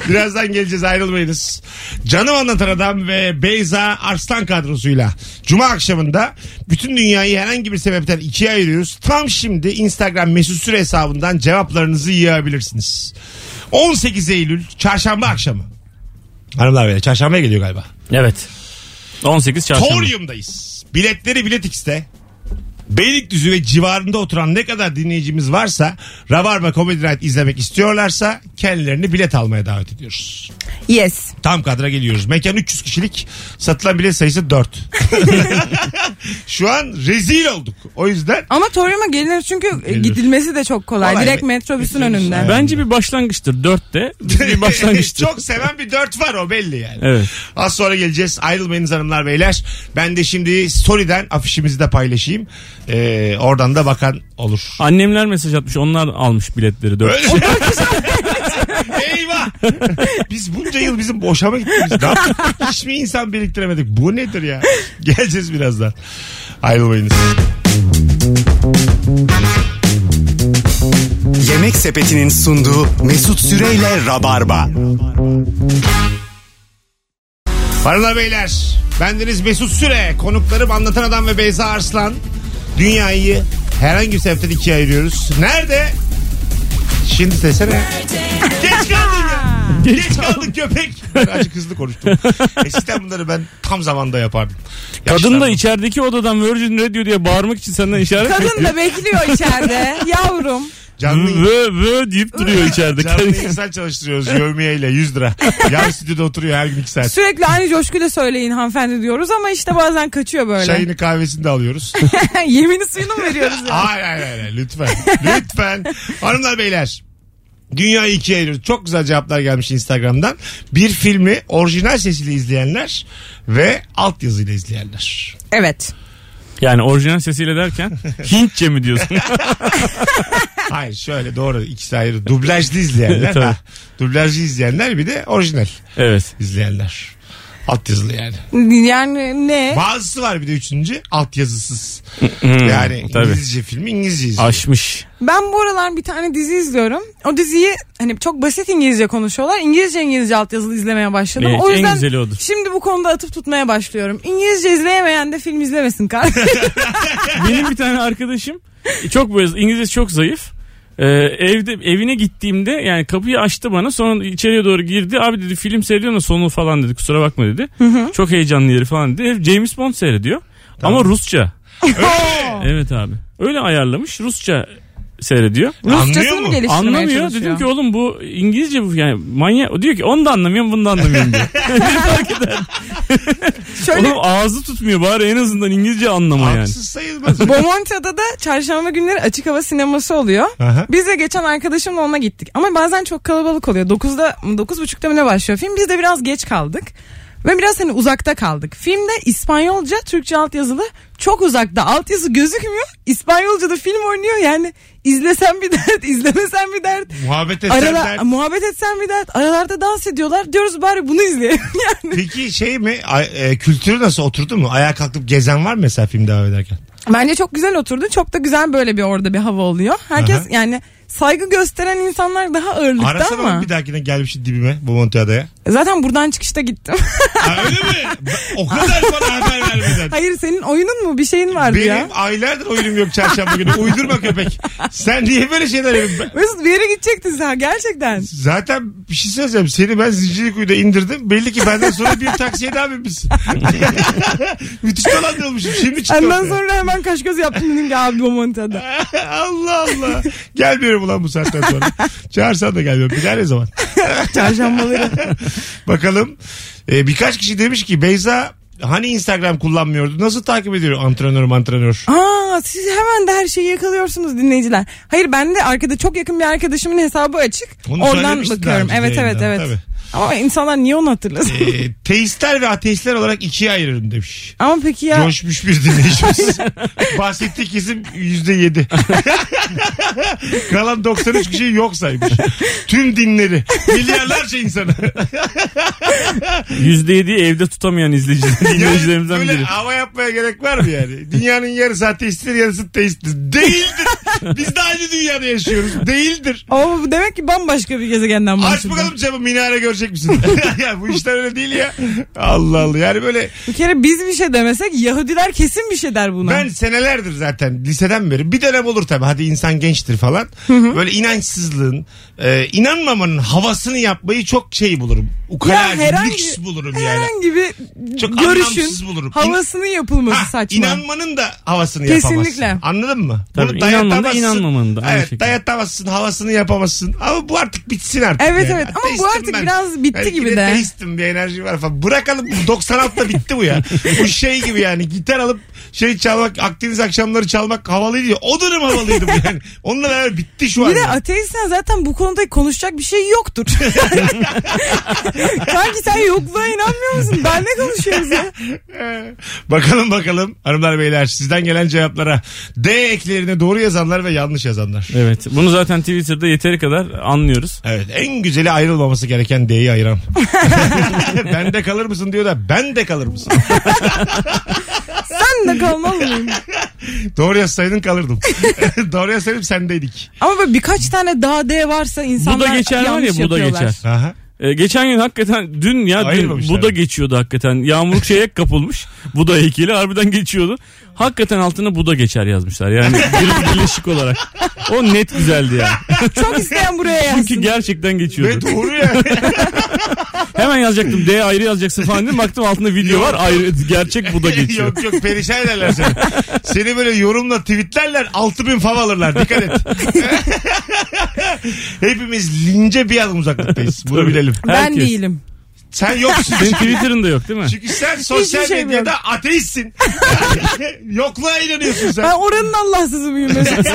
Speaker 2: Birazdan geleceğiz ayrılmayınız. Canım Anlatan Adam ve Beyza Arslan kadrosuyla Cuma akşamında bütün dünyayı herhangi bir sebepten ikiye ayırıyoruz. Tam şimdi Instagram mesut süre hesabından cevaplarınızı yığabilirsiniz. 18 Eylül çarşamba akşamı. Hanımlar beyler çarşambaya geliyor galiba.
Speaker 3: evet. 18 çarşamba.
Speaker 2: Torium'dayız. Biletleri Bilet X'te. Beylikdüzü ve civarında oturan ne kadar dinleyicimiz varsa Rabarba Comedy Night izlemek istiyorlarsa kendilerini bilet almaya davet ediyoruz.
Speaker 4: Yes.
Speaker 2: Tam kadra geliyoruz. Mekan 300 kişilik satılan bilet sayısı 4. Şu an rezil olduk. O yüzden
Speaker 4: Ama Torium'a gelinir çünkü e,
Speaker 2: Gelir.
Speaker 4: gidilmesi de çok kolay.
Speaker 2: Kolay
Speaker 4: Direkt
Speaker 2: ve-
Speaker 4: metrobüsün
Speaker 2: metrobüsün
Speaker 4: önünde.
Speaker 2: önünde.
Speaker 3: Bence bir başlangıçtır. 4'te bir başlangıçtır.
Speaker 2: Çok seven bir dört var o belli yani.
Speaker 3: Evet.
Speaker 2: Az sonra geleceğiz. Ayrılmayınız hanımlar beyler. Ben de şimdi story'den afişimizi de paylaşayım. Ee, oradan da bakan olur.
Speaker 3: Annemler mesaj atmış. Onlar almış biletleri 4.
Speaker 2: Öyle şey. Eyvah. Biz bunca yıl bizim boşama gittiğimiz. Ne yaptık? Hiç mi insan biriktiremedik? Bu nedir ya? Geleceğiz birazdan. Ayrılmayınız.
Speaker 1: Yemek Sepeti'nin sunduğu Mesut Süreyle Rabarba.
Speaker 2: Hanımlar beyler. Bendeniz Mesut Süre. Konuklarım Anlatan Adam ve Beyza Arslan. Dünyayı herhangi bir sebepten ikiye ayırıyoruz. Nerede? Şimdi desene. Geç kaldık ya. Geç kaldık köpek. Ben azıcık hızlı konuştum. Eskiden bunları ben tam zamanda yapardım.
Speaker 3: Kadın da
Speaker 2: Yaşlandım.
Speaker 3: içerideki odadan Virgin Radio diye bağırmak için senden işaret
Speaker 4: Kadın
Speaker 3: bekliyor.
Speaker 4: da bekliyor içeride. Yavrum.
Speaker 2: Canlı
Speaker 3: Vö vö deyip duruyor içeride.
Speaker 2: Canlı insan çalıştırıyoruz yövmiye ile 100 lira. Yan stüdyoda oturuyor her gün 2 saat.
Speaker 4: Sürekli aynı coşkuyla söyleyin hanımefendi diyoruz ama işte bazen kaçıyor böyle.
Speaker 2: Çayını kahvesini de alıyoruz.
Speaker 4: Yemini suyunu mu veriyoruz ya?
Speaker 2: hayır hayır hayır lütfen. Lütfen. Hanımlar beyler. Dünya ikiye ayırır. Çok güzel cevaplar gelmiş Instagram'dan. Bir filmi orijinal sesiyle izleyenler ve altyazıyla izleyenler.
Speaker 4: Evet.
Speaker 3: Yani orijinal sesiyle derken Hintçe mi diyorsun?
Speaker 2: Hayır şöyle doğru ikisi ayrı. Dublajlı izleyenler.
Speaker 3: Tabii.
Speaker 2: ha. Dublajlı izleyenler bir de orijinal
Speaker 3: evet.
Speaker 2: izleyenler. Altyazılı yani.
Speaker 4: Yani ne?
Speaker 2: Bazısı var bir de üçüncü altyazısız.
Speaker 3: Hmm,
Speaker 2: Yani
Speaker 3: tabii.
Speaker 2: İngilizce filmi İngilizce izliyor.
Speaker 3: Aşmış.
Speaker 4: Ben bu aralar bir tane dizi izliyorum. O diziyi hani çok basit İngilizce konuşuyorlar. İngilizce İngilizce altyazılı izlemeye başladım.
Speaker 3: Evet,
Speaker 4: o
Speaker 3: Ee, en
Speaker 4: yüzden
Speaker 3: güzeli odur.
Speaker 4: şimdi bu konuda atıp tutmaya başlıyorum. İngilizce izleyemeyen de film izlemesin kardeşim.
Speaker 3: Benim bir tane arkadaşım e, çok böyle İngilizcesi çok zayıf. Ee, evde evine gittiğimde yani kapıyı açtı bana sonra içeriye doğru girdi abi dedi film seyrediyor da sonu falan dedi kusura bakma dedi çok heyecanlı yeri falan dedi Herif James Bond seyrediyor ama Rusça evet abi öyle ayarlamış Rusça seyrediyor
Speaker 4: Rusçasını mı
Speaker 2: mu?
Speaker 4: geliştirmeye
Speaker 3: Anlamıyor.
Speaker 4: çalışıyor?
Speaker 3: Dedim ki oğlum bu İngilizce bu yani manyak. O diyor ki onu da anlamıyorum bunu da anlamıyorum diyor.
Speaker 4: Şöyle
Speaker 3: Oğlum ağzı tutmuyor bari en azından İngilizce anlama yani.
Speaker 2: Haksız sayılmaz.
Speaker 4: Bomontia'da da çarşamba günleri açık hava sineması oluyor.
Speaker 2: Aha.
Speaker 4: Biz de geçen arkadaşımla ona gittik. Ama bazen çok kalabalık oluyor. 9'da 9.30'da mı ne başlıyor film? Biz de biraz geç kaldık. Ve biraz hani uzakta kaldık. Filmde İspanyolca, Türkçe altyazılı çok uzakta. Altyazı gözükmüyor. İspanyolca'da film oynuyor. Yani izlesen bir dert, izlemesen bir dert.
Speaker 2: Muhabbet etsen
Speaker 4: Arada
Speaker 2: der.
Speaker 4: muhabbet etsen bir dert. Aralarda dans ediyorlar. Diyoruz bari bunu izleyelim yani.
Speaker 2: Peki şey mi ay- e, kültürü nasıl oturdu mu? Ayağa kalkıp gezen var mı mesela film devam ederken?
Speaker 4: Bence çok güzel oturdu. Çok da güzel böyle bir orada bir hava oluyor. Herkes
Speaker 2: Aha.
Speaker 4: yani saygı gösteren insanlar daha ağırlıkta
Speaker 2: Arasana
Speaker 4: ama.
Speaker 2: bak bir dahakine gelmişsin dibime bu Monteada'ya.
Speaker 4: Zaten buradan çıkışta gittim.
Speaker 2: Ha, öyle mi? Ben- O kadar bana haber vermeden.
Speaker 4: Hayır senin oyunun mu bir şeyin vardı
Speaker 2: Benim
Speaker 4: ya.
Speaker 2: aylardır oyunum yok çarşamba günü. Uydurma köpek. Sen niye böyle şeyler yapıyorsun? Ben-
Speaker 4: Mesut bir yere gidecektin sen gerçekten.
Speaker 2: Zaten bir şey söyleyeceğim. Seni ben Zincirlikuyu'da indirdim. Belli ki benden sonra bir taksiye daha binmişsin. Müthiş dolandırılmışım. Şimdi çıktım.
Speaker 4: Ondan sonra hemen kaş göz yaptın dedim ki abi Bomonta'da.
Speaker 2: Allah Allah. Gelmiyorum ulan bu saatten sonra. Çağırsan da gelmiyorum. Bir daha ne zaman?
Speaker 4: Çarşambaları.
Speaker 2: Bakalım. Ee, birkaç kişi demiş ki Beyza hani Instagram kullanmıyordu. Nasıl takip ediyor antrenör antrenör?
Speaker 4: Aa siz hemen de her şeyi yakalıyorsunuz dinleyiciler. Hayır ben de arkada çok yakın bir arkadaşımın hesabı açık.
Speaker 2: Onu
Speaker 4: Oradan
Speaker 2: söylemiştin
Speaker 4: bakıyorum.
Speaker 2: daha önce
Speaker 4: Evet evet
Speaker 2: yayında,
Speaker 4: evet.
Speaker 2: tabii.
Speaker 4: Ama insanlar niye onu hatırlasın?
Speaker 2: Ee, teistler ve ateistler olarak ikiye ayırırım demiş.
Speaker 4: Ama peki ya.
Speaker 2: Coşmuş bir dinleyicimiz. Bahsettiği kesim yüzde yedi. Kalan 93 kişiyi yok saymış. Tüm dinleri. Milyarlarca insanı.
Speaker 3: %7'yi evde tutamayan izleyiciler,
Speaker 2: Yani
Speaker 3: dinleyicilerimizden
Speaker 2: böyle
Speaker 3: biri.
Speaker 2: hava yapmaya gerek var mı yani? Dünyanın yarısı ateisttir yarısı teisttir. Değildir. Biz de aynı dünyada yaşıyoruz. Değildir.
Speaker 4: Ama bu demek ki bambaşka bir gezegenden
Speaker 2: Aç
Speaker 4: bahsediyor.
Speaker 2: bakalım camı minare görecek misin? ya bu işler öyle değil ya. Allah Allah yani böyle
Speaker 4: Bir kere biz bir şey demesek Yahudiler kesin bir şey der buna.
Speaker 2: ben senelerdir zaten liseden beri bir dönem olur tabii hadi insan genç geçmiştir falan. Böyle inançsızlığın, e, inanmamanın havasını yapmayı çok şey bulurum. Ukala, lüks bulurum yani.
Speaker 4: herhangi bir
Speaker 2: Çok anlamsız
Speaker 4: görüşün
Speaker 2: bulurum.
Speaker 4: havasının yapılması
Speaker 2: Ha,
Speaker 4: saçma.
Speaker 2: İnanmanın Ah, da havasını
Speaker 4: Kesinlikle.
Speaker 2: yapamazsın. Anladın mı?
Speaker 3: Tabii,
Speaker 2: Bunu
Speaker 3: inanmanın da
Speaker 2: dayatamazsın.
Speaker 3: inanmamanın da aynı
Speaker 2: Evet
Speaker 3: şekilde.
Speaker 2: dayatamazsın havasını yapamazsın. Ama bu artık bitsin artık.
Speaker 4: Evet,
Speaker 2: yani.
Speaker 4: evet. Ama bu
Speaker 2: Ateistim
Speaker 4: artık biraz bitti
Speaker 2: Belki
Speaker 4: gibi de.
Speaker 2: Ateistim bir enerji var falan. Bırakalım bu 96'da bitti bu ya. bu şey gibi yani gitar alıp şey çalmak Akdeniz akşamları çalmak havalıydı ya. O dönem havalıydı bu yani. Onunla beraber bitti şu an.
Speaker 4: Bir de
Speaker 2: yani.
Speaker 4: ateistsen zaten bu konuda konuşacak bir şey yoktur. Sanki sen yokluğa inanmıyor musun? Ben ne konuşuyoruz ya?
Speaker 2: Ee, bakalım bakalım hanımlar beyler sizden gelen cevaplara. D eklerine doğru yazanlar ve yanlış yazanlar.
Speaker 3: Evet. Bunu zaten Twitter'da yeteri kadar anlıyoruz.
Speaker 2: Evet en güzeli ayrılmaması gereken D'yi ayıran. ben de kalır mısın diyor da ben de kalır mısın?
Speaker 4: Sen de kalmaz mıyım?
Speaker 2: Doğru yazsaydın kalırdım. Doğru yazsaydım sendeydik.
Speaker 4: Ama böyle birkaç tane daha D varsa
Speaker 3: Bu
Speaker 4: insanlar
Speaker 3: da geçer var
Speaker 4: yanlış
Speaker 3: ya bu da
Speaker 4: yapıyorlar.
Speaker 3: geçer.
Speaker 2: Aha.
Speaker 3: Ee, geçen gün hakikaten dün ya dün
Speaker 2: Ayırmamışlar.
Speaker 3: bu da geçiyordu hakikaten. Yağmurluk şeye kapılmış. Bu da heykeli harbiden geçiyordu. Hakikaten altına bu da geçer yazmışlar. Yani bir birleşik olarak. O net güzeldi yani.
Speaker 4: Çok isteyen buraya
Speaker 3: Çünkü
Speaker 4: yazsın.
Speaker 3: gerçekten
Speaker 2: Ve
Speaker 3: geçiyordu.
Speaker 2: doğru yani.
Speaker 3: Hemen yazacaktım. D ayrı yazacaksın falan dedim. Baktım altında video var. Ayrı, gerçek bu da geçiyor.
Speaker 2: yok yok perişan ederler seni. Seni böyle yorumla tweetlerler 6000 fav alırlar dikkat et. Hepimiz lince bir adım uzaklıktayız. Bunu
Speaker 3: Tabii.
Speaker 2: bilelim.
Speaker 4: Ben
Speaker 3: Herkes.
Speaker 4: değilim.
Speaker 2: Sen yoksun.
Speaker 3: Senin Twitter'ında yok değil mi?
Speaker 2: Çünkü sen sosyal
Speaker 4: Hiçbir şey
Speaker 2: medyada ateistsin. Yokluğa inanıyorsun sen.
Speaker 4: Ben oranın Allahsızı mıyım? Mesut?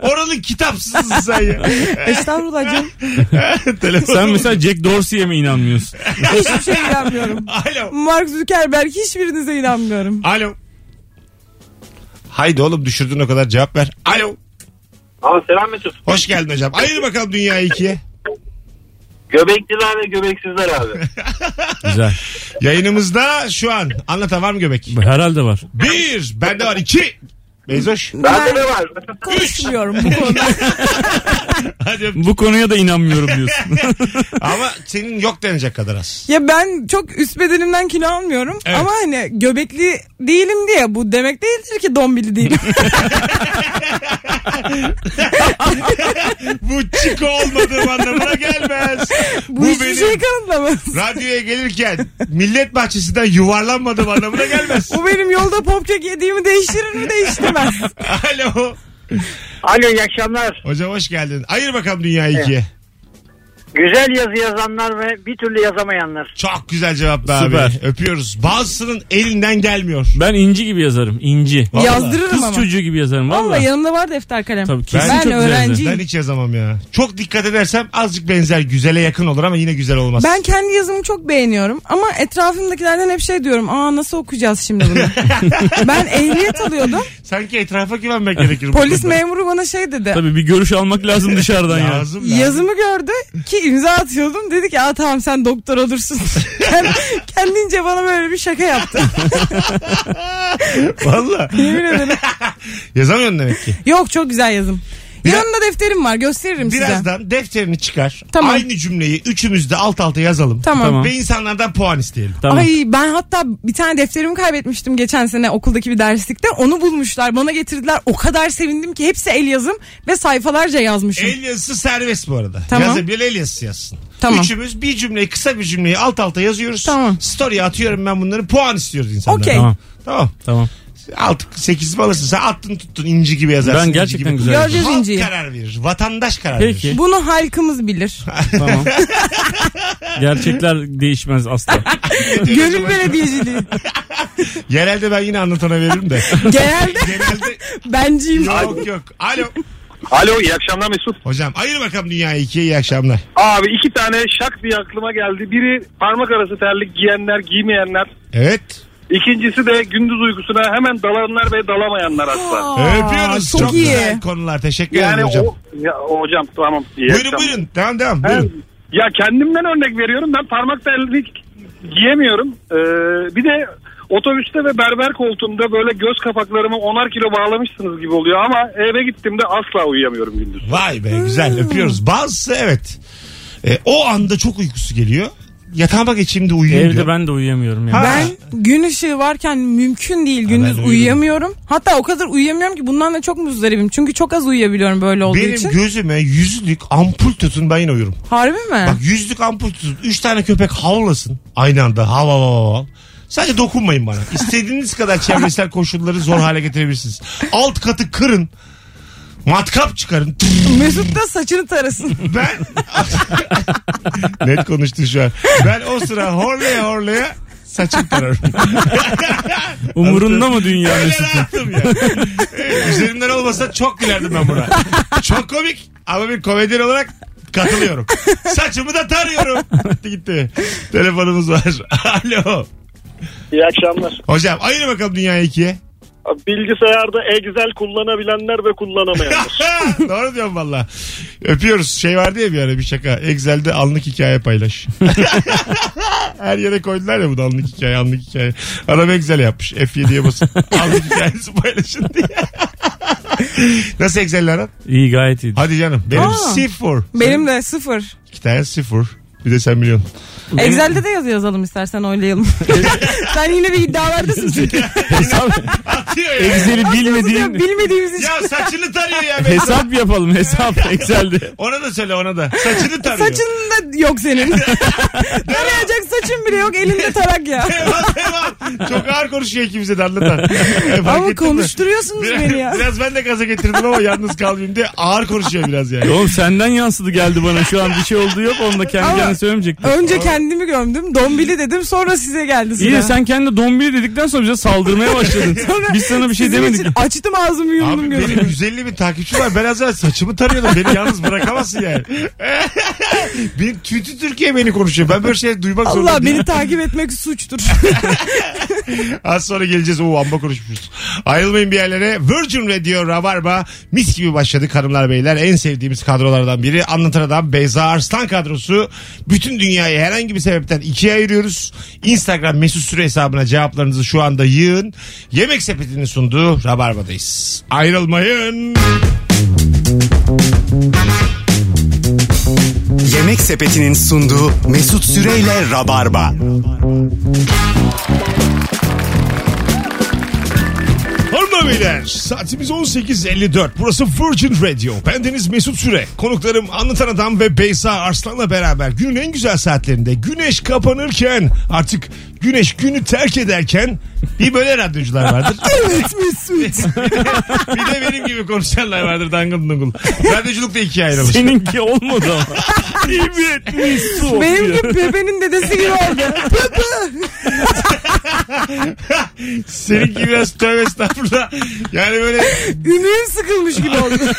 Speaker 2: Oranın kitapsızsın sen ya.
Speaker 4: Estağfurullah canım.
Speaker 2: Telefon.
Speaker 3: Sen mesela Jack Dorsey'e mi inanmıyorsun?
Speaker 4: Hiçbir şeye inanmıyorum.
Speaker 2: Alo.
Speaker 4: Mark Zuckerberg hiçbirinize inanmıyorum.
Speaker 2: Alo. Haydi oğlum düşürdün o kadar cevap ver. Alo.
Speaker 5: Aa, selam Mesut.
Speaker 2: Hoş geldin hocam. Ayır bakalım dünyayı ikiye.
Speaker 5: Göbekliler ve göbeksizler abi.
Speaker 3: Güzel.
Speaker 2: Yayınımızda şu an anlatan var mı göbek?
Speaker 3: Herhalde var.
Speaker 2: Bir. Bende var iki. Bezoş.
Speaker 5: Bende de var.
Speaker 4: Konuşmuyorum bu konuda.
Speaker 2: Hadi öp-
Speaker 3: Bu konuya da inanmıyorum diyorsun.
Speaker 2: Ama senin yok denecek kadar az.
Speaker 4: Ya ben çok üst bedenimden kilo almıyorum.
Speaker 2: Evet.
Speaker 4: Ama hani göbekli değilim diye bu demek değildir ki dombili değilim.
Speaker 2: Bu çiko olmadığım anlamına gelmez.
Speaker 4: bu, hiçbir şey kanıtlamaz.
Speaker 2: radyoya gelirken millet bahçesinden yuvarlanmadığım anlamına gelmez.
Speaker 4: Bu benim yolda popkek yediğimi değiştirir mi değiştirmez.
Speaker 2: Alo.
Speaker 8: Alo iyi akşamlar.
Speaker 2: Hocam hoş geldin. Ayır bakalım dünyayı ikiye.
Speaker 8: Güzel yazı yazanlar ve bir türlü yazamayanlar.
Speaker 2: Çok güzel cevap be abi.
Speaker 3: Süper.
Speaker 2: Öpüyoruz. Bazısının elinden gelmiyor.
Speaker 3: Ben inci gibi yazarım. İnci.
Speaker 2: Vallahi.
Speaker 4: Yazdırırım
Speaker 3: Kız
Speaker 4: ama.
Speaker 3: çocuğu gibi yazarım.
Speaker 4: Valla
Speaker 3: Vallahi.
Speaker 4: yanımda var defter kalem.
Speaker 3: Tabii, kesin
Speaker 4: ben
Speaker 3: çok güzel
Speaker 4: öğrenciyim.
Speaker 2: Ben hiç yazamam ya. Çok dikkat edersem azıcık benzer güzele yakın olur ama yine güzel olmaz.
Speaker 4: Ben kendi yazımı çok beğeniyorum ama etrafımdakilerden hep şey diyorum. Aa nasıl okuyacağız şimdi bunu? ben ehliyet alıyordum.
Speaker 2: Sanki etrafa güvenmek gerekir. bu
Speaker 4: Polis
Speaker 2: konuda.
Speaker 4: memuru bana şey dedi.
Speaker 3: Tabii bir görüş almak lazım dışarıdan ya.
Speaker 2: Lazım lazım.
Speaker 4: Yazımı gördü ki imza atıyordum. Dedi ki aa tamam sen doktor olursun. Kend- Kendince bana böyle bir şaka yaptı.
Speaker 2: Valla.
Speaker 4: Yemin ederim.
Speaker 2: Yazamıyorsun demek ki.
Speaker 4: Yok çok güzel yazım.
Speaker 2: Biraz-
Speaker 4: Yanımda defterim var gösteririm size.
Speaker 2: Birazdan defterini çıkar.
Speaker 4: Tamam.
Speaker 2: Aynı cümleyi üçümüz de alt alta yazalım.
Speaker 4: Tamam.
Speaker 3: Tamam.
Speaker 2: Ve insanlardan puan isteyelim.
Speaker 3: Tamam.
Speaker 4: Ay ben hatta bir tane defterimi kaybetmiştim geçen sene okuldaki bir derslikte. Onu bulmuşlar bana getirdiler. O kadar sevindim ki hepsi el yazım ve sayfalarca yazmışım.
Speaker 2: El yazısı serbest bu arada.
Speaker 4: Tamam.
Speaker 2: Yazabilen el yazısı yazsın.
Speaker 4: Tamam.
Speaker 2: Üçümüz bir cümleyi kısa bir cümleyi alt alta yazıyoruz.
Speaker 4: Tamam.
Speaker 2: Story'e atıyorum ben bunları puan istiyoruz insanlardan.
Speaker 4: Okey.
Speaker 3: Tamam.
Speaker 2: Tamam.
Speaker 3: Tamam.
Speaker 2: 6 8 mi alırsın? Sen attın tuttun inci gibi yazarsın.
Speaker 3: Ben
Speaker 2: inci
Speaker 3: gerçekten
Speaker 2: gibi.
Speaker 3: güzel
Speaker 4: Göreceğiz
Speaker 2: Halk
Speaker 4: inciyi.
Speaker 2: karar verir. Vatandaş karar verir.
Speaker 3: Peki.
Speaker 4: Bunu halkımız bilir.
Speaker 3: tamam. Gerçekler değişmez asla.
Speaker 4: Gönül belediyeciliği.
Speaker 2: Yerelde ben yine anlatana veririm de.
Speaker 4: Genelde
Speaker 2: Genelde
Speaker 4: benciyim.
Speaker 2: yok yok. Alo.
Speaker 5: Alo iyi akşamlar Mesut.
Speaker 2: Hocam ayır bakalım dünyayı ikiye iyi akşamlar.
Speaker 5: Abi iki tane şak diye aklıma geldi. Biri parmak arası terlik giyenler giymeyenler.
Speaker 2: Evet.
Speaker 5: İkincisi de gündüz uykusuna hemen dalanlar ve dalamayanlar asla.
Speaker 4: Aa,
Speaker 2: Öpüyoruz.
Speaker 4: Çok,
Speaker 2: Çok,
Speaker 4: iyi.
Speaker 2: güzel konular. Teşekkür ederim
Speaker 5: Yani
Speaker 2: hocam.
Speaker 5: o, ya, hocam tamam. iyi
Speaker 2: Buyurun
Speaker 5: akşamlar.
Speaker 2: buyurun. Devam devam.
Speaker 5: Ben-
Speaker 2: Buyurun.
Speaker 5: ya kendimden örnek veriyorum. Ben parmak terlik giyemiyorum. Ee, bir de otobüste ve berber koltuğumda böyle göz kapaklarımı 10'ar kilo bağlamışsınız gibi oluyor ama eve gittiğimde asla uyuyamıyorum gündüz.
Speaker 4: Hmm.
Speaker 2: Vay be güzel öpüyoruz. Bazısı evet. E, o anda çok uykusu geliyor. yatağıma geçeyim de uyuyayım diyor.
Speaker 3: Evde ben de uyuyamıyorum yani.
Speaker 2: Ha.
Speaker 4: Ben gün ışığı varken mümkün değil
Speaker 2: ben
Speaker 4: gündüz
Speaker 2: uyudum.
Speaker 4: uyuyamıyorum. Hatta o kadar uyuyamıyorum ki bundan da çok muzdaribim. Çünkü çok az uyuyabiliyorum böyle olduğu
Speaker 2: Benim
Speaker 4: için.
Speaker 2: gözüme yüzlük ampul tutun ben yine uyurum.
Speaker 4: Harbi mi?
Speaker 2: Bak yüzlük ampul tutun. Üç tane köpek havlasın aynı anda. Hav hav hav hav. Sadece dokunmayın bana. İstediğiniz kadar çevresel koşulları zor hale getirebilirsiniz. Alt katı kırın. Matkap çıkarın.
Speaker 4: Mesut da saçını tarasın.
Speaker 2: Ben net konuştun şu an. Ben o sıra horlaya horlaya saçım tararım.
Speaker 3: Umurunda mı dünya
Speaker 2: Öyle
Speaker 3: Mesut?
Speaker 2: rahatım ya. Ee, Üzerimden olmasa çok gülerdim ben buna. Çok komik ama bir komedyen olarak katılıyorum. Saçımı da tarıyorum. Gitti gitti. Telefonumuz var. Alo.
Speaker 5: İyi akşamlar.
Speaker 2: Hocam ayır bakalım dünyayı ikiye.
Speaker 5: Bilgisayarda Excel kullanabilenler ve kullanamayanlar.
Speaker 2: Doğru diyorum valla. Öpüyoruz. Şey vardı ya bir ara bir şaka. Excel'de anlık hikaye paylaş. Her yere koydular ya bu da anlık hikaye anlık hikaye. Adam Excel yapmış. F7'ye basın. anlık hikayesi paylaşın diye. Nasıl Excel'le aran?
Speaker 3: İyi gayet iyi.
Speaker 2: Hadi canım. Benim
Speaker 4: Aa.
Speaker 2: sıfır.
Speaker 4: Benim de sıfır.
Speaker 2: İki tane sıfır. Bir de sen biliyorsun.
Speaker 4: Excel'de de yazı yazalım istersen oylayalım. Sen yine bir iddialardasın çünkü.
Speaker 3: Hesap,
Speaker 2: Atıyor ya.
Speaker 3: Excel'i
Speaker 4: Bilmediğim...
Speaker 3: bilmediğin
Speaker 4: Bilmediğimiz için.
Speaker 2: ya saçını tarıyor ya. be.
Speaker 3: hesap yapalım hesap Excel'de.
Speaker 2: Ona da söyle ona da. Saçını tarıyor.
Speaker 4: Saçın da yok senin. Tarayacak saçın bile yok elinde tarak ya.
Speaker 2: Devam, devam. Çok ağır konuşuyor ikimize de anlatan. E, Fark
Speaker 4: Ama
Speaker 2: ettin mi?
Speaker 4: konuşturuyorsunuz
Speaker 2: Biraz,
Speaker 4: beni ya.
Speaker 2: biraz ben de gaza getirdim ama yalnız kalmayayım diye ağır konuşuyor biraz yani.
Speaker 3: Oğlum senden yansıdı geldi bana şu an bir şey oldu yok onda kendi
Speaker 4: Ama-
Speaker 3: kendine söylemeyecektim.
Speaker 4: Önce kendimi gömdüm. Dombili dedim sonra size geldi sıra.
Speaker 3: İyi de sen kendi dombili dedikten sonra bize saldırmaya başladın.
Speaker 4: Sonra
Speaker 3: Biz sana bir şey
Speaker 4: sizin
Speaker 3: demedik.
Speaker 4: için açtım ağzımı yumdum
Speaker 2: Abi
Speaker 4: gözümü.
Speaker 2: benim 150 bin takipçi var. Ben az evvel saçımı tarıyordum. Beni yalnız bırakamazsın yani. Benim tütü Türkiye beni konuşuyor. Ben böyle şey duymak zorunda
Speaker 4: Allah
Speaker 2: değilim.
Speaker 4: beni takip etmek suçtur.
Speaker 2: Az sonra geleceğiz. Oo amma konuşmuşuz. Ayrılmayın bir yerlere. Virgin Radio Rabarba mis gibi başladık hanımlar beyler. En sevdiğimiz kadrolardan biri. Anlatan Adam Beyza Arslan kadrosu. Bütün dünyayı herhangi bir sebepten ikiye ayırıyoruz. Instagram mesut süre hesabına cevaplarınızı şu anda yığın. Yemek sepetini sunduğu Rabarba'dayız. Ayrılmayın.
Speaker 1: Yemek sepetinin sunduğu Mesut Süreyle Rabarba.
Speaker 2: Hanımlar beyler saatimiz 18.54 burası Virgin Radio. Bendeniz Mesut Süre. Konuklarım Anlatan Adam ve Beyza Arslan'la beraber günün en güzel saatlerinde güneş kapanırken artık güneş günü terk ederken bir böyle radyocular vardır.
Speaker 4: evet Mesut.
Speaker 2: bir de benim gibi konuşanlar vardır dangıl dungul. Radyoculuk da ikiye ayrılmış.
Speaker 3: Seninki olmadı ama. evet Mesut.
Speaker 4: Benim
Speaker 3: diyor.
Speaker 4: gibi Pepe'nin dedesi gibi oldu.
Speaker 2: Seninki biraz tövbe estağfurullah. Yani böyle
Speaker 4: Ümüğüm sıkılmış gibi oldu.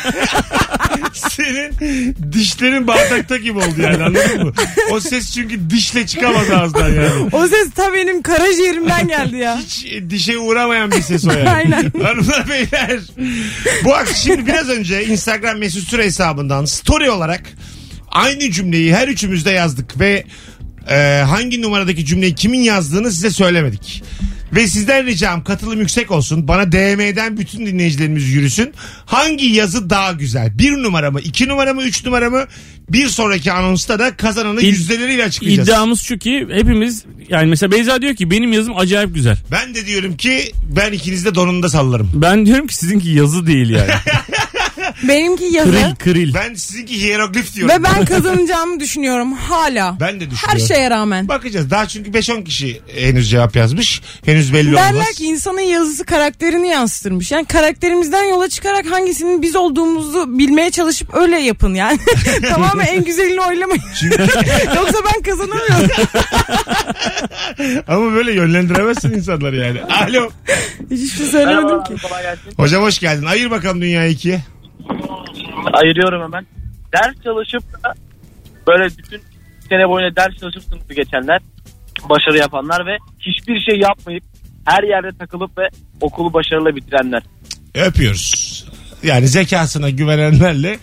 Speaker 2: senin dişlerin bardakta gibi oldu yani anladın mı? O ses çünkü dişle çıkamaz ağızdan yani.
Speaker 4: O ses ta benim karaciğerimden geldi ya.
Speaker 2: Hiç dişe uğramayan bir ses o yani.
Speaker 4: Aynen.
Speaker 2: Hanımlar beyler. Bu akşam şimdi biraz önce Instagram mesut süre hesabından story olarak aynı cümleyi her üçümüz de yazdık ve e, hangi numaradaki cümleyi kimin yazdığını size söylemedik. Ve sizden ricam katılım yüksek olsun. Bana DM'den bütün dinleyicilerimiz yürüsün. Hangi yazı daha güzel? Bir numara mı? iki numara mı? Üç numara mı? Bir sonraki anonsta da kazananı
Speaker 3: İd-
Speaker 2: yüzdeleriyle açıklayacağız.
Speaker 3: İddiamız şu ki hepimiz yani mesela Beyza diyor ki benim yazım acayip güzel.
Speaker 2: Ben de diyorum ki ben ikiniz de donunda sallarım.
Speaker 3: Ben diyorum ki sizinki yazı değil yani.
Speaker 4: Benimki yazı.
Speaker 3: Kril kril.
Speaker 2: Ben sizinki hieroglif diyorum.
Speaker 4: Ve ben kazanacağımı düşünüyorum hala.
Speaker 2: Ben de düşünüyorum.
Speaker 4: Her şeye rağmen.
Speaker 2: Bakacağız. Daha çünkü 5-10 kişi henüz cevap yazmış. Henüz belli olmaz.
Speaker 4: Derler ki insanın yazısı karakterini yansıtırmış. Yani karakterimizden yola çıkarak hangisinin biz olduğumuzu bilmeye çalışıp öyle yapın yani. Tamamen en güzelini oylamayın. Yoksa ben kazanamıyorum.
Speaker 2: Ama böyle yönlendiremezsin insanları yani. Alo.
Speaker 4: Hiç şey söylemedim ki.
Speaker 8: kolay gelsin.
Speaker 2: Hocam hoş geldin. Ayır bakalım dünyayı ikiye.
Speaker 8: Ayırıyorum hemen. Ders çalışıp da böyle bütün sene boyunca ders çalışıp sınıfı geçenler, başarı yapanlar ve hiçbir şey yapmayıp her yerde takılıp ve okulu başarıyla bitirenler.
Speaker 2: Öpüyoruz. Yani zekasına güvenenlerle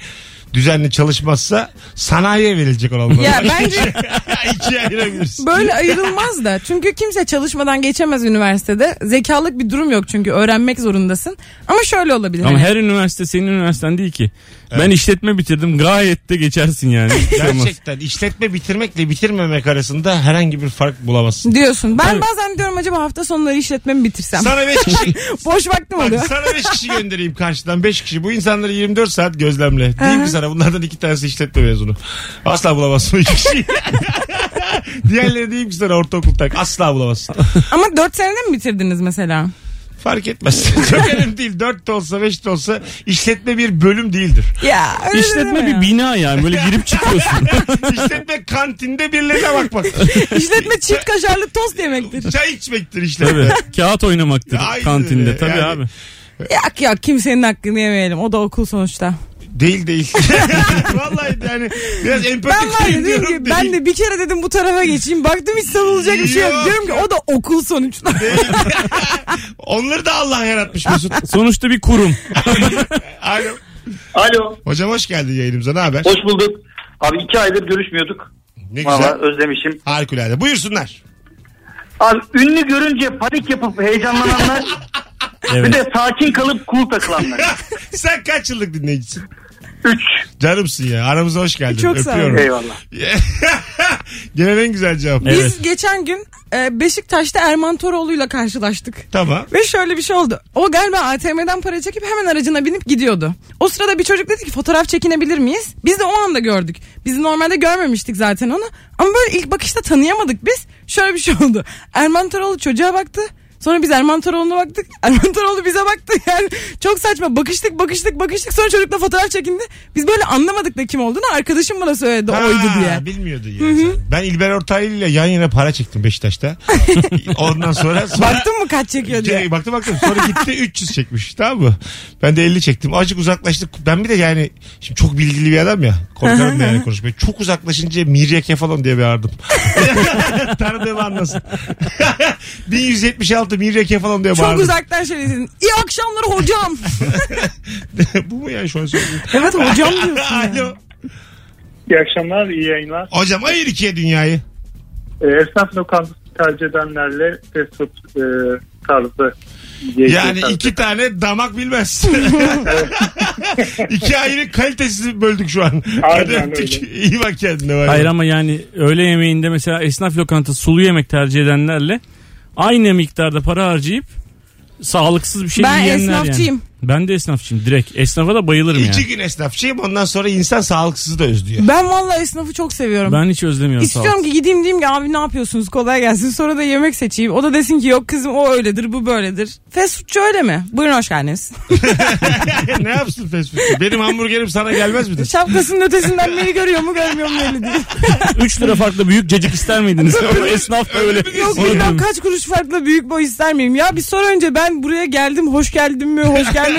Speaker 2: düzenli çalışmazsa sanayiye verilecek olan bunlar.
Speaker 4: Ya bence
Speaker 2: İkiye ayırabilirsin.
Speaker 4: böyle ayrılmaz da. Çünkü kimse çalışmadan geçemez üniversitede. Zekalık bir durum yok çünkü öğrenmek zorundasın. Ama şöyle olabilir.
Speaker 3: Ama
Speaker 4: hani.
Speaker 3: her üniversite senin üniversiten değil ki. Ben işletme bitirdim gayet de geçersin yani. Hiç şey olmaz.
Speaker 2: Gerçekten işletme bitirmekle bitirmemek arasında herhangi bir fark bulamazsın.
Speaker 4: Diyorsun. Ben
Speaker 3: Tabii.
Speaker 4: bazen diyorum acaba hafta sonları işletmemi bitirsem.
Speaker 2: Sana 5 kişi
Speaker 4: Boş vaktim
Speaker 2: bak,
Speaker 4: oluyor.
Speaker 2: sana beş kişi göndereyim karşıdan 5 kişi. Bu insanları 24 saat gözlemle. Diyeyim ki sana bunlardan iki tanesi işletme mezunu. Asla bulamazsın o iki kişiyi. Diğerleri diyeyim ki sana ortaokul tak. Asla bulamazsın.
Speaker 4: Ama 4 senede mi bitirdiniz mesela?
Speaker 2: Fark etmez. Çok önemli değil. 4 de olsa 5 de olsa işletme bir bölüm değildir.
Speaker 4: Ya öyle
Speaker 3: İşletme
Speaker 4: deme
Speaker 3: bir
Speaker 4: ya.
Speaker 3: bina yani böyle girip çıkıyorsun.
Speaker 2: İşletme kantinde birilerine bakmak.
Speaker 4: İşletme çift kaşarlı tost yemektir.
Speaker 2: Çay içmektir işletme.
Speaker 3: tabii. Kağıt oynamaktır
Speaker 2: Aynen öyle.
Speaker 3: kantinde tabii
Speaker 2: Yani-
Speaker 3: abi.
Speaker 4: Yak yak kimsenin hakkını yemeyelim. O da okul sonuçta.
Speaker 2: Değil değil. Vallahi yani biraz
Speaker 4: Ben
Speaker 2: empatik
Speaker 4: var ya
Speaker 2: ben
Speaker 4: diyorum ki ben de bir kere dedim bu tarafa geçeyim. Baktım hiç savunulacak bir şey yok.
Speaker 2: Yok.
Speaker 4: Diyorum ki o da okul sonuçta.
Speaker 2: Onları da Allah yaratmış Mesut.
Speaker 3: Sonuçta bir kurum.
Speaker 2: Alo.
Speaker 5: Alo.
Speaker 2: Hocam hoş geldin yayınımıza. Ne haber?
Speaker 5: Hoş bulduk. Abi iki aydır görüşmüyorduk.
Speaker 2: Ne güzel.
Speaker 5: Valla özlemişim.
Speaker 2: Harikulade. Buyursunlar.
Speaker 5: Abi ünlü görünce panik yapıp heyecanlananlar bir
Speaker 3: Evet.
Speaker 5: de sakin kalıp cool takılanlar.
Speaker 2: Sen kaç yıllık dinleyicisin?
Speaker 5: Üç.
Speaker 2: Canımsın ya. Aramıza hoş geldin.
Speaker 4: Çok sağ ol.
Speaker 2: Öpüyorum.
Speaker 5: Eyvallah.
Speaker 2: Gelen en güzel cevap.
Speaker 3: Evet.
Speaker 4: Biz geçen gün e, Beşiktaş'ta Erman Toroğlu'yla karşılaştık.
Speaker 2: Tamam.
Speaker 4: Ve şöyle bir şey oldu. O galiba ATM'den para çekip hemen aracına binip gidiyordu. O sırada bir çocuk dedi ki fotoğraf çekinebilir miyiz? Biz de o anda gördük. Biz normalde görmemiştik zaten onu. Ama böyle ilk bakışta tanıyamadık biz. Şöyle bir şey oldu. Erman Toroğlu çocuğa baktı. Sonra biz Erman Toroğlu'na baktık. Erman Toroğlu bize baktı. Yani çok saçma. Bakıştık bakıştık bakıştık. Sonra çocukla fotoğraf çekindi. Biz böyle anlamadık da kim olduğunu. Arkadaşım bana söyledi
Speaker 2: Ha,
Speaker 4: oydu diye.
Speaker 2: Bilmiyordu yani. sen. Ben İlber Ortaylı ile yan yana para çektim Beşiktaş'ta. Ondan sonra, sonra
Speaker 4: Baktın mı kaç çekiyor diye.
Speaker 2: Şey, baktım baktım sonra gitti 300 çekmiş tamam mı? Ben de 50 çektim. Azıcık uzaklaştık. Ben bir de yani şimdi çok bilgili bir adam ya. Korkarım da yani konuşmaya. Çok uzaklaşınca Mirya Kefalon diye bağırdım. Tanıdığımı anlasın. 1176 Mirya Kefalon diye
Speaker 4: Çok
Speaker 2: bağırdım.
Speaker 4: uzaktan şey dedin. İyi akşamlar hocam.
Speaker 2: Bu mu yani şu an söylediğin?
Speaker 4: evet hocam diyorsun. yani.
Speaker 2: Alo.
Speaker 5: İyi akşamlar, iyi yayınlar.
Speaker 2: Hocam hayır ikiye dünyayı.
Speaker 5: Ee, esnaf lokantası tercih edenlerle fast food e, tarzı yiyecek
Speaker 2: Yani
Speaker 5: tarzı.
Speaker 2: iki tane damak bilmez. iki ayrı kalitesiz böldük şu an. Hadi
Speaker 5: öyle.
Speaker 2: öptük. İyi bak kendine. Bay bay.
Speaker 3: Hayır ama yani öğle yemeğinde mesela esnaf lokantası sulu yemek tercih edenlerle aynı miktarda para harcayıp sağlıksız bir şey
Speaker 4: Ben
Speaker 3: yiyenler yani.
Speaker 4: esnafçıyım.
Speaker 3: Ben de esnafçıyım direkt. Esnafa da bayılırım
Speaker 2: İki
Speaker 3: yani.
Speaker 2: gün esnafçıyım ondan sonra insan sağlıksızı da özlüyor.
Speaker 4: Ben vallahi esnafı çok seviyorum.
Speaker 3: Ben hiç özlemiyorum
Speaker 4: İstiyorum
Speaker 3: sağlık.
Speaker 4: ki gideyim diyeyim ki abi ne yapıyorsunuz kolay gelsin sonra da yemek seçeyim. O da desin ki yok kızım o öyledir bu böyledir. Fast foodçu öyle mi? Buyurun hoş geldiniz.
Speaker 2: ne yapsın Facebook'ta? Benim hamburgerim sana gelmez midir?
Speaker 4: Şapkasının ötesinden beni görüyor mu görmüyor mu belli değil.
Speaker 3: 3 lira farklı büyük cacık ister miydiniz? Ama esnaf da öyle.
Speaker 4: Yok
Speaker 3: Öyle
Speaker 4: buradan
Speaker 3: mi?
Speaker 4: kaç kuruş farklı büyük boy ister miyim? Ya bir sor önce ben buraya geldim hoş geldim mi hoş gelmedin. mi?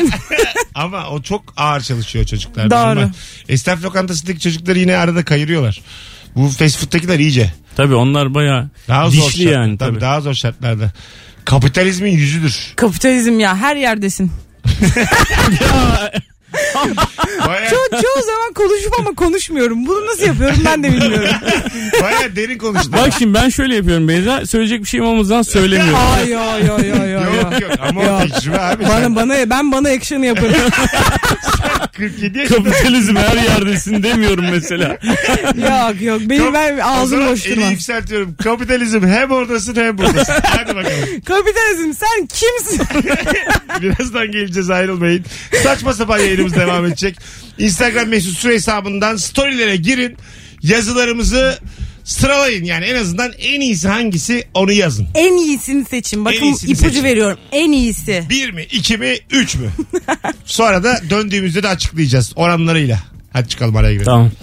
Speaker 2: Ama o çok ağır çalışıyor çocuklar.
Speaker 4: Doğru.
Speaker 2: Normal. Esnaf lokantasındaki çocukları yine arada kayırıyorlar. Bu fast food'takiler iyice.
Speaker 3: Tabii onlar bayağı
Speaker 2: Daha zor
Speaker 3: dişli
Speaker 2: şart-
Speaker 3: yani.
Speaker 2: tabii
Speaker 3: Tabii.
Speaker 2: Daha zor şartlarda. Kapitalizmin yüzüdür.
Speaker 4: Kapitalizm ya her yerdesin.
Speaker 2: Baya,
Speaker 4: Çoğu, çoğu zaman konuşup ama konuşmuyorum. Bunu nasıl yapıyorum ben de bilmiyorum.
Speaker 2: baya derin konuştu.
Speaker 3: Bak şimdi ben şöyle yapıyorum Beyza. Söyleyecek bir şeyim olmadan söylemiyorum.
Speaker 4: Ay yo yo yo yo. yo.
Speaker 2: Yok yok ama o
Speaker 4: Yok.
Speaker 2: tecrübe abi.
Speaker 4: Bana,
Speaker 2: Sen
Speaker 4: bana, ben bana action'ı yaparım.
Speaker 2: 47 yaşında.
Speaker 3: Kapitalizm her yerdesin demiyorum mesela.
Speaker 4: yok yok beni ben ağzımı
Speaker 2: boş
Speaker 4: boş
Speaker 2: Eli
Speaker 4: durmaz.
Speaker 2: yükseltiyorum. Kapitalizm hem oradasın hem buradasın. Hadi bakalım.
Speaker 4: Kapitalizm sen kimsin?
Speaker 2: Birazdan geleceğiz ayrılmayın. Saçma sapan yayınımız devam edecek. Instagram mesut süre hesabından storylere girin. Yazılarımızı sıralayın. Yani en azından en iyisi hangisi onu yazın.
Speaker 4: en iyisini seçin. Bakın
Speaker 2: En iyisini
Speaker 4: ipucu
Speaker 2: seçin.
Speaker 4: veriyorum. En iyisi.
Speaker 2: Bir mi, iki mi, üç mü? Sonra da döndüğümüzde de açıklayacağız oranlarıyla. Hadi çıkalım araya girelim.
Speaker 3: tamam.